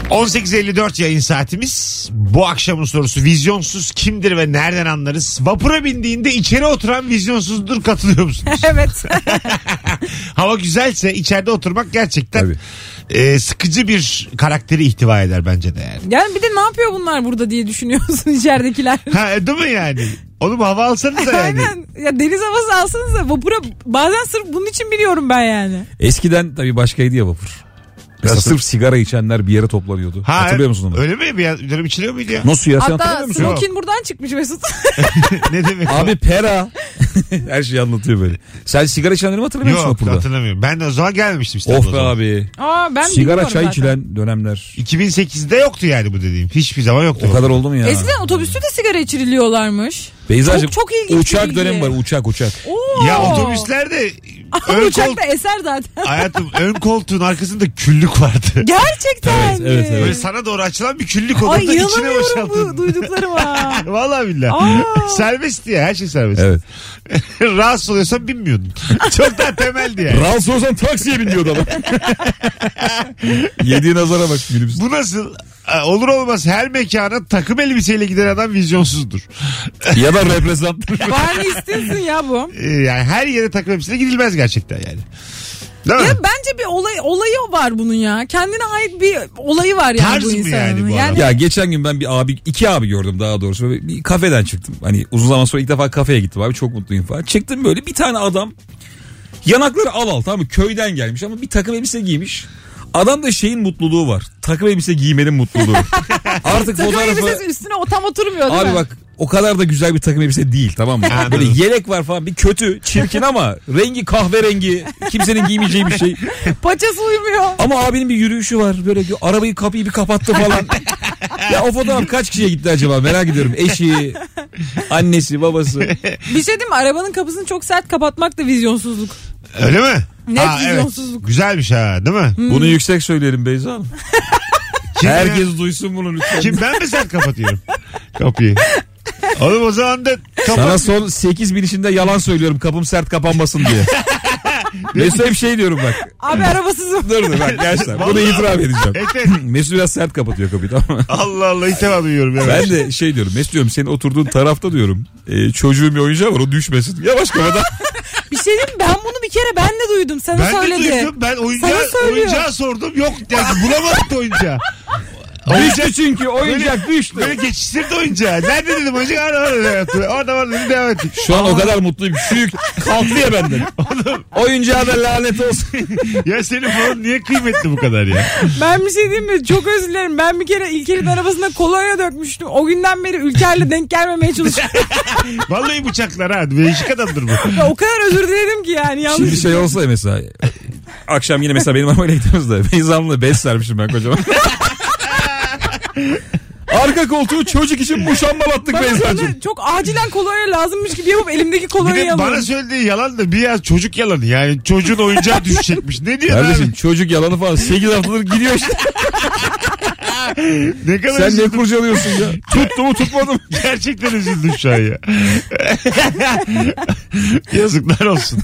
...18.54 yayın saatimiz... ...bu akşamın sorusu vizyonsuz kimdir ve nereden anlarız? Vapura bindiğinde içeri oturan vizyonsuzdur katılıyor musunuz? evet. Hava güzelse içeride oturmak gerçekten Tabii. e, sıkıcı bir karakteri ihtiva eder bence de yani. Yani bir de ne yapıyor bunlar burada diye düşünüyorsun içeridekiler. Ha e, değil mi yani? Oğlum hava alsanıza yani. Aynen. Ya deniz havası alsanıza vapura bazen sırf bunun için biliyorum ben yani. Eskiden tabii başkaydı ya vapur. Mesela Nasıl? sırf sigara içenler bir yere toplanıyordu. Ha, Hatırlıyor musun onu? Öyle mi? Bir bir dönem içiliyor muydu ya? Nasıl ya sen Hatta hatırlamıyor musun? smokin buradan çıkmış Mesut. ne demek? Abi pera. Her şeyi anlatıyor böyle. Sen sigara içenleri mi hatırlamıyor musun Yok vapurda? hatırlamıyorum. Ben de o zaman gelmemiştim Of be İstanbul'a. abi. Aa ben sigara bilmiyorum çay zaten. içilen dönemler. 2008'de yoktu yani bu dediğim. Hiçbir zaman yoktu. O kadar oldu mu ya? Eskiden otobüste de sigara içiriliyorlarmış. Beyzacığım, Çok- çok ilginç bir uçak bilgi. dönemi var uçak uçak. Oo. Ya otobüslerde Ama ön, kol, uçakta eser zaten. hayatım, ön koltuğun arkasında küllük vardı. Gerçekten Evet, evet, mi? Böyle sana doğru açılan bir küllük Ay olurdu içine inanamıyorum bu boşaltın. duyduklarıma. Vallahi billahi. Aa. serbest ya her şey serbest. Evet. Rahatsız oluyorsan binmiyordun. Çok daha temeldi yani. Rahatsız olsan taksiye bin diyordu adam. Yediği nazara bak minibüs. Bu nasıl? Ee, Olur olmaz her mekana takım elbiseyle giden adam vizyonsuzdur. ya da reprezentan. Var mı istiyorsun ya bu? Ee, Yani her yere takım elbiseyle gidilmez gerçekten yani. Değil mi? Ya bence bir olay olayı var bunun ya. Kendine ait bir olayı var yani Tarz bu mı insanın. yani bu adam? Ya geçen gün ben bir abi iki abi gördüm daha doğrusu. Böyle Bir kafeden çıktım. Hani uzun zaman sonra ilk defa kafeye gittim abi çok mutluyum falan. Çıktım böyle bir tane adam yanakları al al tamam mı köyden gelmiş ama bir takım elbise giymiş. Adam da şeyin mutluluğu var. Takım elbise giymenin mutluluğu. Artık Takım fotoğrafı elbisesi üstüne o tam oturmuyor değil Abi mi? bak o kadar da güzel bir takım elbise değil tamam mı? Anladım. Böyle yelek var falan bir kötü çirkin ama rengi kahverengi kimsenin giymeyeceği bir şey. Paçası uymuyor. Ama abinin bir yürüyüşü var böyle gö- arabayı kapıyı bir kapattı falan. ya o fotoğraf kaç kişiye gitti acaba merak ediyorum. Eşi, annesi, babası. Bir şey diyeyim mi? Arabanın kapısını çok sert kapatmak da vizyonsuzluk. Öyle mi? Net vizyonsuzluk. Güzelmiş ha değil mi? Bunu yüksek söyleyelim Beyza Hanım. Kim- Herkes duysun bunu lütfen. Kim ben mi sen kapatıyorum kapıyı? Oğlum o zaman da Sana kapat. son 8 binişinde yalan söylüyorum kapım sert kapanmasın diye. Mesut'a hep şey diyorum bak. Abi arabasızım. Dur dur bak gençler bunu itiraf edeceğim. Evet, evet. Mesut biraz sert kapatıyor kapıyı tamam mı? Allah Allah ilk defa duyuyorum. ya. Ben de şey diyorum Mesut diyorum senin oturduğun tarafta diyorum. E, çocuğun bir oyuncağı var o düşmesin. Yavaş kafadan. Bir şey diyeyim mi? Ben bunu bir kere ben de duydum. Sana Ben de söyledi. duydum. Ben oyuncağı, Sana söylüyor. oyuncağı sordum. Yok yani bulamadım da oyuncağı. Oyuncak- Düştü çünkü oyuncak Böyle düştü. geçiştirdi oyuncağı. Nerede dedim oyuncak? Orada orada yaptı. Orada orada dedim devam ettik. Şu an o kadar mutluyum. Şu yük kalktı ya benden. Oyuncağa da lanet olsun. Ya senin falan niye kıymetli bu kadar ya? Ben bir şey diyeyim mi? Çok özür dilerim. Ben bir kere İlker'in arabasına kolonya dökmüştüm. O günden beri Ülker'le denk gelmemeye çalışıyorum. Vallahi bıçaklar ha. Değişik adamdır bu. o kadar özür diledim ki yani. Yanlış. Şimdi şey olsa ya mesela. Akşam yine mesela benim arabayla gidiyoruz da. Beyzamlı bez sermişim ben kocaman. Arka koltuğu çocuk için muşambalattık Bana Beyza'cığım. sonra çok acilen kolonya lazımmış gibi yapıp elimdeki Bir kolonyayı de bana alıyorum. söylediği yalan da biraz çocuk yalanı. Yani çocuğun oyuncağı düşecekmiş. Ne diyor Kardeşim abi? çocuk yalanı falan 8 haftadır gidiyor işte. Ne kadar Sen ne üzüldüm. kurcalıyorsun ya? Tuttu mu tutmadı mı? Gerçekten üzüldüm şu an ya. Yazıklar olsun.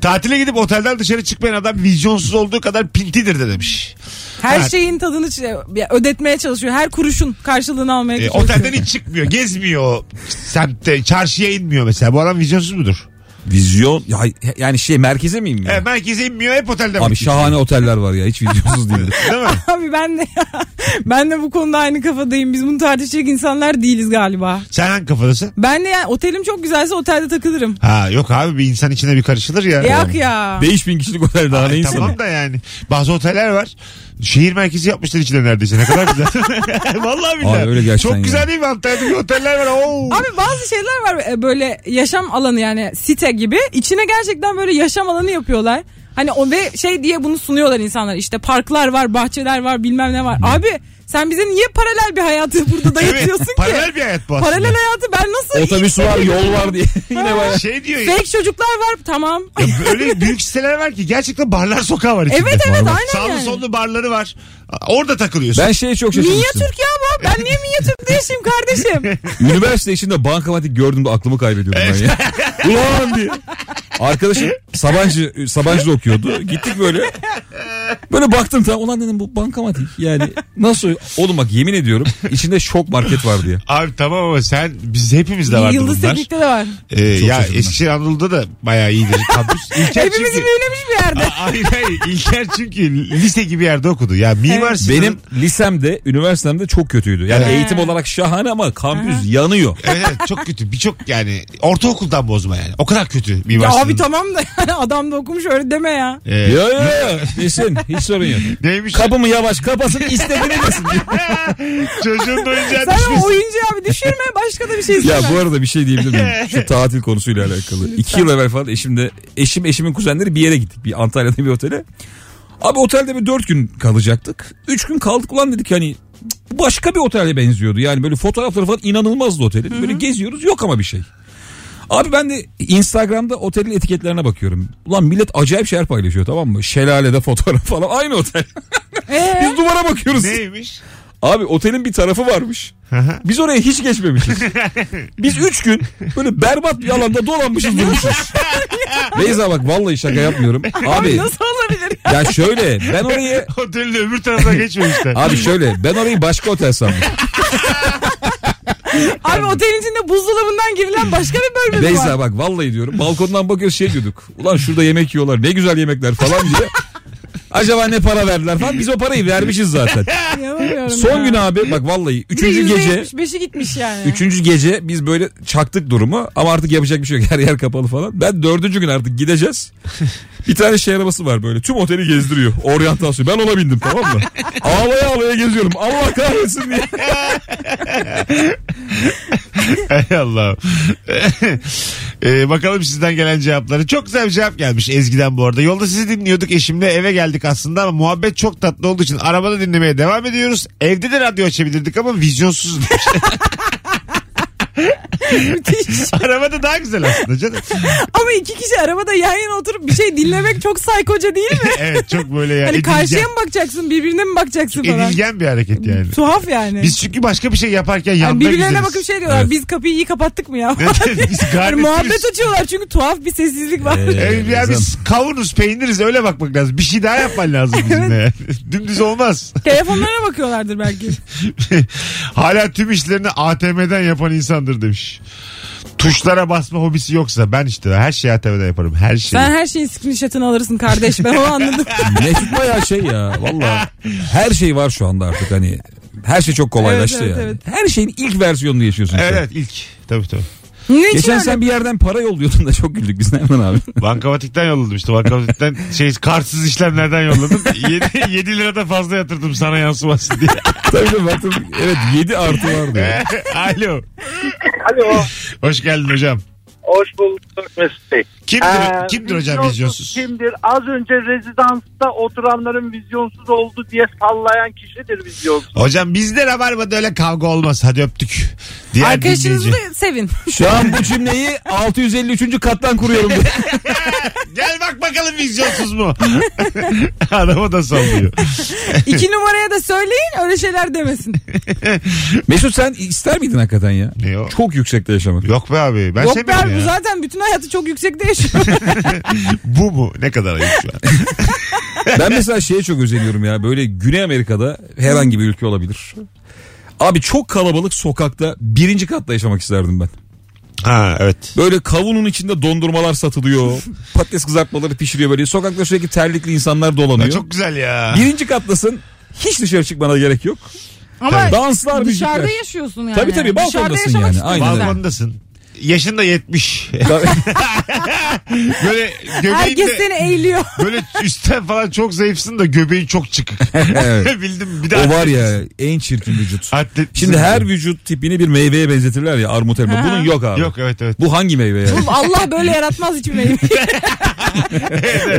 Tatile gidip otelden dışarı çıkmayan adam vizyonsuz olduğu kadar pintidir de demiş. Her Evet. şeyin tadını ç- ya ödetmeye çalışıyor. Her kuruşun karşılığını almaya E, çalışıyor. otelden hiç çıkmıyor. Gezmiyor. o Semtte, çarşıya inmiyor mesela. Bu adam vizyonsuz mudur? Vizyon ya, yani şey merkeze miyim ya? E, merkeze inmiyor. Hep otelde Abi vakit şahane oteller var ya hiç vizyonsuz değil. geçiriyor. Değil mi? Abi ben de ben de bu konuda aynı kafadayım. Biz bunu tartışacak insanlar değiliz galiba. Sen hangi kafadasın? Ben de yani otelim çok güzelse otelde takılırım. Ha yok abi bir insan içine bir karışılır ya. Yak ya. 5000 kişilik otel daha ne Ay, insanı? tamam da yani. Bazı oteller var. Şehir merkezi yapmışlar içinde neredeyse. Ne kadar güzel. Vallahi billahi. Abi öyle gerçekten Çok ya. güzel değil mi? Antalya'da bir oteller var. Oo. Abi bazı şeyler var e, böyle yaşam alanı yani site gibi. İçine gerçekten böyle yaşam alanı yapıyorlar. Hani o ve şey diye bunu sunuyorlar insanlar. İşte parklar var, bahçeler var, bilmem ne var. Abi sen bize niye paralel bir hayatı burada dayatıyorsun ki? Paralel bir hayat bu aslında. Paralel hayatı ben nasıl? Otobüs var, yol var diye. Yine var. Şey diyor ya. Fake çocuklar var tamam. Ya böyle büyük siteler var ki gerçekten barlar sokağı var içinde. Evet evet var. aynen Sağlı yani. sollu barları var. Orada takılıyorsun. Ben şeye çok şaşırmıştım. Minyatür ya bu. Ben niye minyatür değişim kardeşim? Üniversite içinde bankamatik gördüğümde aklımı kaybediyordum ben ya. Ulan diye. Arkadaşım Sabancı Sabancı'da okuyordu. Gittik böyle. Böyle baktım tam ulan dedim bu bankamatik yani nasıl oğlum bak yemin ediyorum içinde şok market vardı ya. Abi tamam ama sen biz hepimizde vardı Yıldız bunlar. Teknik'te de var. Ee, Çok ya şaşırdım. Eskişehir Anadolu'da da bayağı iyidir kampüs. İlker Hepimizi çünkü... büyülemiş bir yerde. A- Hayır hayır İlker çünkü lise gibi yerde okudu. Ya mimar Sinan'ın- Benim lisemde, üniversitemde çok kötüydü. Yani eğitim olarak şahane ama kampüs yanıyor. Evet, evet, çok kötü. Birçok yani ortaokuldan bozma yani. O kadar kötü mimar Ya Sinan'ın. abi tamam da yani adam da okumuş öyle deme ya. Ee, Ya ya ya. Desin. Hiç sorun yok. Neymiş? Kapımı yavaş kapasın istediğini desin. Çocuğun oyuncağı Sen düşmüş. o oyuncu abi düşürme başka da bir şey Ya istemem. bu arada bir şey diyebilir miyim? Şu tatil konusuyla alakalı. İki yıl evvel falan eşimle, eşim eşimin kuzenleri bir yere gittik. Bir Antalya'da bir otele. Abi otelde bir dört gün kalacaktık. Üç gün kaldık ulan dedik hani bu başka bir otele benziyordu. Yani böyle fotoğrafları falan inanılmazdı otelin. Böyle geziyoruz yok ama bir şey. Abi ben de Instagram'da otelin etiketlerine bakıyorum. Ulan millet acayip şeyler paylaşıyor tamam mı? Şelalede fotoğraf falan aynı otel. Ee, Biz duvara bakıyoruz. Neymiş? Abi otelin bir tarafı varmış. Biz oraya hiç geçmemişiz. Biz üç gün böyle berbat bir alanda dolanmışız durmuşuz. Beyza bak vallahi şaka yapmıyorum. Abi nasıl olabilir? ya şöyle ben orayı Otelin öbür tarafına geçmemişler. abi şöyle ben orayı başka otel sandım. abi otelin içinde buzdolabından girilen başka bir bölme mi var? Beyza bak vallahi diyorum balkondan bakıyoruz şey diyorduk. Ulan şurada yemek yiyorlar ne güzel yemekler falan diye. Acaba ne para verdiler falan biz o parayı vermişiz zaten. Yapamıyorum ya. Son gün abi bak vallahi Bir de üçüncü gece %75'i gitmiş yani. Üçüncü gece biz böyle çaktık durumu ama artık yapacak bir şey yok. Her yer kapalı falan. Ben dördüncü gün artık gideceğiz. Bir tane şey arabası var böyle. Tüm oteli gezdiriyor. Oryantasyon. Ben ona bindim tamam mı? Ağlaya ağlaya geziyorum. Allah kahretsin diye. Hay Allah'ım. Ee, bakalım sizden gelen cevapları. Çok güzel bir cevap gelmiş Ezgi'den bu arada. Yolda sizi dinliyorduk eşimle eve geldik aslında ama muhabbet çok tatlı olduğu için arabada dinlemeye devam ediyoruz. Evde de radyo açabilirdik ama vizyonsuz. Müthiş. arabada daha güzel aslında canım. Ama iki kişi arabada yan yana oturup bir şey dinlemek çok saykoca değil mi? evet çok böyle yani. Hani karşıya edilgen, mı bakacaksın birbirine mi bakacaksın falan? edilgen bir hareket yani. Tuhaf yani. Biz çünkü başka bir şey yaparken Yani yandan birbirlerine izleriz. bakıp şey diyorlar biz kapıyı iyi kapattık mı ya? Biz Yani garnitürüz. muhabbet açıyorlar çünkü tuhaf bir sessizlik var. Ee, Evet, yani biz kavunuz peyniriz öyle bakmak lazım. Bir şey daha yapman lazım bizimle. yani. Dümdüz olmaz. Telefonlarına bakıyorlardır belki. Hala tüm işlerini ATM'den yapan insandır demiş. Tuşlara basma hobisi yoksa ben işte her şeyi ATM'den yaparım. Her şeyi. Sen her şeyin screenshot'ını alırsın kardeş ben onu anladım. Mesut bayağı şey ya. Valla her şey var şu anda artık hani. Her şey çok kolaylaştı Evet, evet, yani. Her şeyin ilk versiyonunu yaşıyorsun. şu an. Evet ilk. Tabii tabii. Ne için Geçen öyle? sen bir yerden para yolluyordun da çok güldük biz Nerman abi. Bankamatikten yolladım işte. Bankamatikten şey kartsız işlemlerden yolladım. 7, 7 lira da fazla yatırdım sana yansımasın diye. Tabii de baktım evet 7 artı vardı. ya. Alo. Alo. Hoş geldin hocam. Hoş bulduk Mesut Bey. Kimdir, Ee, kimdir hocam vizyonsuz? Kimdir? Az önce rezidansta oturanların vizyonsuz oldu diye sallayan kişidir vizyonsuz. Hocam bizde Rabarba'da öyle kavga olmaz. Hadi öptük. Diğer Arkadaşınızı dinleyici. da sevin. Şu an bu cümleyi 653. kattan kuruyorum. diye. Gel bak bakalım vizyonsuz mu? Adama da sallıyor. İki numaraya da söyleyin öyle şeyler demesin. Mesut sen ister miydin hakikaten ya? Ne o? Çok yüksekte yaşamak. Yok be abi. Ben Yok be sevmiyorum abi bu ya. zaten bütün hayatı çok yüksekte yaşıyor. Bu mu? Ne kadar ayıp şu an. Ben mesela şeye çok özeniyorum ya. Böyle Güney Amerika'da herhangi bir ülke olabilir. Abi çok kalabalık sokakta birinci katta yaşamak isterdim ben. Ha evet. Böyle kavunun içinde dondurmalar satılıyor. patates kızartmaları pişiriyor böyle. Sokakta sürekli terlikli insanlar dolanıyor. Ya çok güzel ya. Birinci kattasın. Hiç dışarı çıkmana gerek yok. Ama Danslar, müzikler. dışarıda yaşıyorsun yani. Tabii tabii, Dışarıda balkondasın yaşamak yani, istiyorsun aynen öyle. sen. Balkondasın. Yaşın da 70. Tabii. Böyle Herkes göbeğin de seni eğiliyor. böyle üstten falan çok zayıfsın da göbeğin çok çıkık. Evet. Bildim bir de O var ya en çirkin vücut. atlet- Şimdi her vücut tipini bir meyveye benzetirler ya armut elma. Bunun yok abi. Yok evet evet. Bu hangi meyve yani? Allah böyle yaratmaz hiçbir meyve.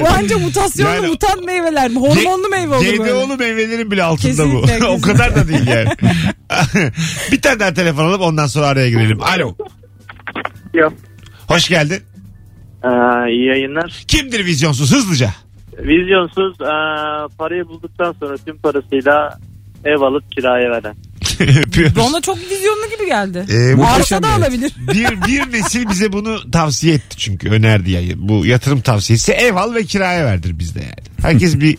bu anca mutasyonlu Yani- mutant meyveler mi? Hormonlu meyve olur böyle. GDO'lu meyvelerin bile altında bu. Kesinlikle, o kesinlikle. kadar da değil yani. bir tane daha telefon alıp ondan sonra araya girelim. Alo. Yok. Hoş geldin. Ee, iyi yayınlar. Kimdir vizyonsuz hızlıca? Vizyonsuz ee, parayı bulduktan sonra tüm parasıyla ev alıp kiraya veren. Öpüyoruz. Bana çok vizyonlu gibi geldi. Ee, bu Arsa da bir- alabilir. bir, bir nesil bize bunu tavsiye etti çünkü önerdi ya bu yatırım tavsiyesi ev al ve kiraya verdir bizde yani. Herkes bir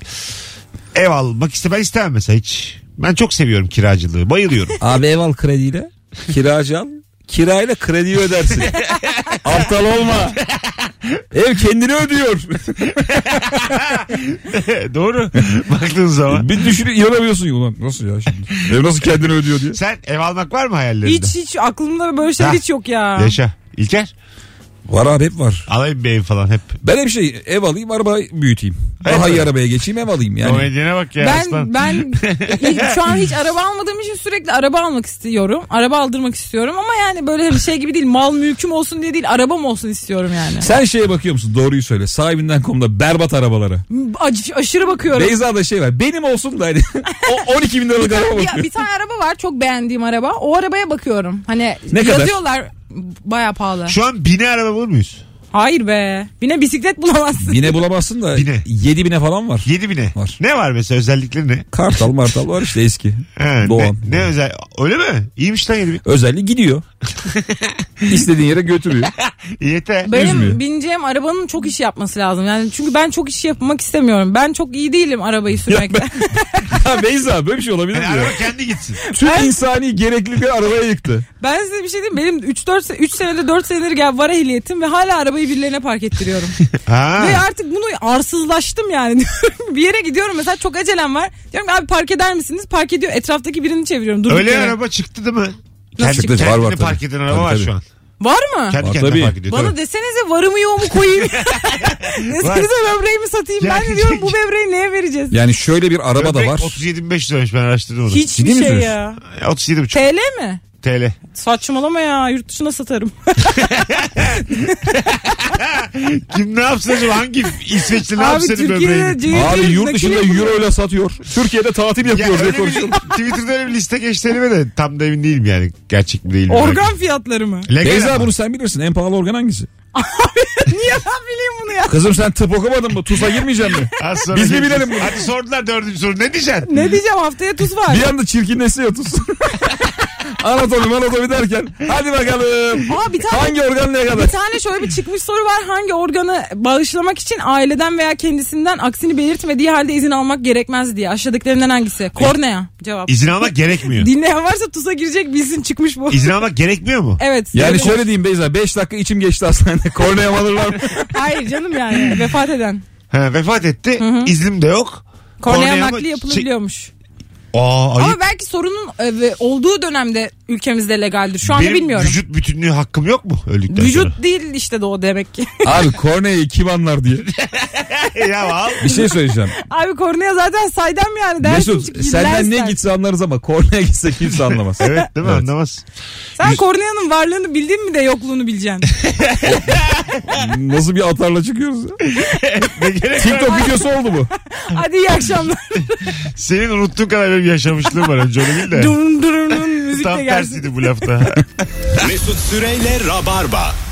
ev almak iste ben istemem mesela hiç. Ben çok seviyorum kiracılığı bayılıyorum. Abi ev al krediyle. Kiracı al. Kirayla krediyi ödersin. Aptal olma. Ev kendini ödüyor. Doğru baktığın zaman. bir düşünüp inanamıyorsun. Ulan nasıl ya şimdi? Ev nasıl kendini ödüyor diye. Sen ev almak var mı hayallerinde? Hiç hiç aklımda böyle şeyler Ha. hiç yok ya. Yaşa. İlker Var abi hep var. alayım bir ev falan hep. Ben hep şey ev alayım araba büyüteyim. Evet. Daha iyi arabaya geçeyim ev alayım Yani, yani. bak ya aslan. Ben ben şu an hiç araba almadığım için sürekli araba almak istiyorum. Araba aldırmak istiyorum ama yani böyle bir şey gibi değil. Mal mülküm olsun diye değil, arabam olsun istiyorum yani. Sen şeye bakıyor musun? Doğruyu söyle. Sahibinden komda berbat arabalara. Ac- aşırı bakıyorum. Beyza da şey var. Benim olsun da hani o 12 bin liralık araba bir, bakıyor. bir tane araba var çok beğendiğim araba. O arabaya bakıyorum. Hani Ne kadar? yazıyorlar baya pahalı. Şu an bine araba bulur muyuz? Hayır be. Bine bisiklet bulamazsın. Bine bulamazsın da Bine. 7 bine falan var. Yedi bine. Var. Ne var mesela özellikleri ne? Kartal martal var işte eski. Ha, Doğan. Ne, ne özel? Öyle mi? İyiymiş lan yedi bin. Özelliği gidiyor. İstediğin yere götürüyor. Yeter. Benim üzmüyor. bineceğim arabanın çok iş yapması lazım. Yani çünkü ben çok iş yapmak istemiyorum. Ben çok iyi değilim arabayı sürmekte. Ha Beyza böyle bir şey olabilir mi Yani ya? araba kendi gitsin. Tüm insani gereklilikleri arabaya yıktı. ben size bir şey diyeyim. mi? Benim 3 4 3 senede 4 senedir gel var ehliyetim ve hala arabayı birilerine park ettiriyorum. Ha. ve artık bunu arsızlaştım yani. bir yere gidiyorum mesela çok acelem var. Diyorum ki abi park eder misiniz? Park ediyor. Etraftaki birini çeviriyorum. Durduk Öyle yere. araba çıktı değil mi? çıktı? Var, var kendini park tabii. eden araba Tabii, var tabii. şu an. Var mı? Kendi Var kendine tabii. park ediyor. Bana tabii. desenize varımı yoğumu koyayım. Desenize böbreğimi satayım. Ya- ben de diyorum bu böbreği neye vereceğiz? Yani şöyle bir araba da Böbrek var. 37.500 liraymış ben araştırdım onu. Hiçbir Ciddi mi şey diyorsun? ya. 37.5 TL mi? TL. Saçmalama ya yurt dışına satarım. Kim ne yapsın acaba? Hangi İsveçli ne Abi yapsın senin Türkiye'de böbreğini? cehil Abi değil, yurt nakil dışında yapılıyor. euro ile satıyor. Türkiye'de tatil Ya yapıyor diye öyle bir, konuşuyorum. Twitter'da öyle bir liste geçti elime de tam da emin değilim yani. Gerçek mi değil mi? Organ fiyatları mı? Legal Beyza ama. bunu sen bilirsin. En pahalı organ hangisi? Niye ben bileyim bunu ya? Kızım sen tıp okumadın mı? TUS'a girmeyeceksin mi? Az sonra Biz mi geleceğiz. bilelim bunu? Hadi sordular dördüncü soru. Ne diyeceksin? Ne diyeceğim haftaya tuz var. Bir anda çirkinleşiyor TUS. anatomi anatomi derken. Hadi bakalım. Aa, bir tane- Hangi organ ne kadar? Bir tane şöyle bir çıkmış soru var. Hangi organı bağışlamak için aileden veya kendisinden aksini belirtmediği halde izin almak gerekmez diye. Aşağıdakilerinden hangisi? Kornea cevap. İzin almak gerekmiyor. Dinleyen varsa tuza girecek bilsin çıkmış bu. İzin almak gerekmiyor mu? Evet. Yani Evet. şöyle diyeyim Beyza 5 dakika içim geçti hastanede. Kornaya mı alırlar mı? Hayır canım yani vefat eden. Ha, vefat etti. İznim de yok. Kornea mı- nakli yapılabiliyormuş. Şey, Aa, ayıp. Ama belki sorunun e, ve olduğu dönemde ülkemizde legaldir. Şu anda Benim bilmiyorum. Vücut, vücut bütünlüğü hakkım yok mu öldükten sonra? değil işte de o demek ki. Abi korneyi kim anlar diye. ya al. Bir şey söyleyeceğim. Abi kornaya zaten saydam yani. Dersin Mesut çünkü senden ne dinlersen. gitse anlarız ama korneye gitse kimse anlamaz. Evet değil mi anlamaz. Sen Yüz- korneyanın varlığını bildin mi de yokluğunu bileceksin. Nasıl bir atarla çıkıyoruz? ya? TikTok videosu oldu bu. Hadi iyi akşamlar. Senin unuttuğun kadar benim yaşamışlığım var önce onu bil de. Dum dum dum müzik de Tam gelsin. tersiydi bu lafta. Mesut Süreyle Rabarba.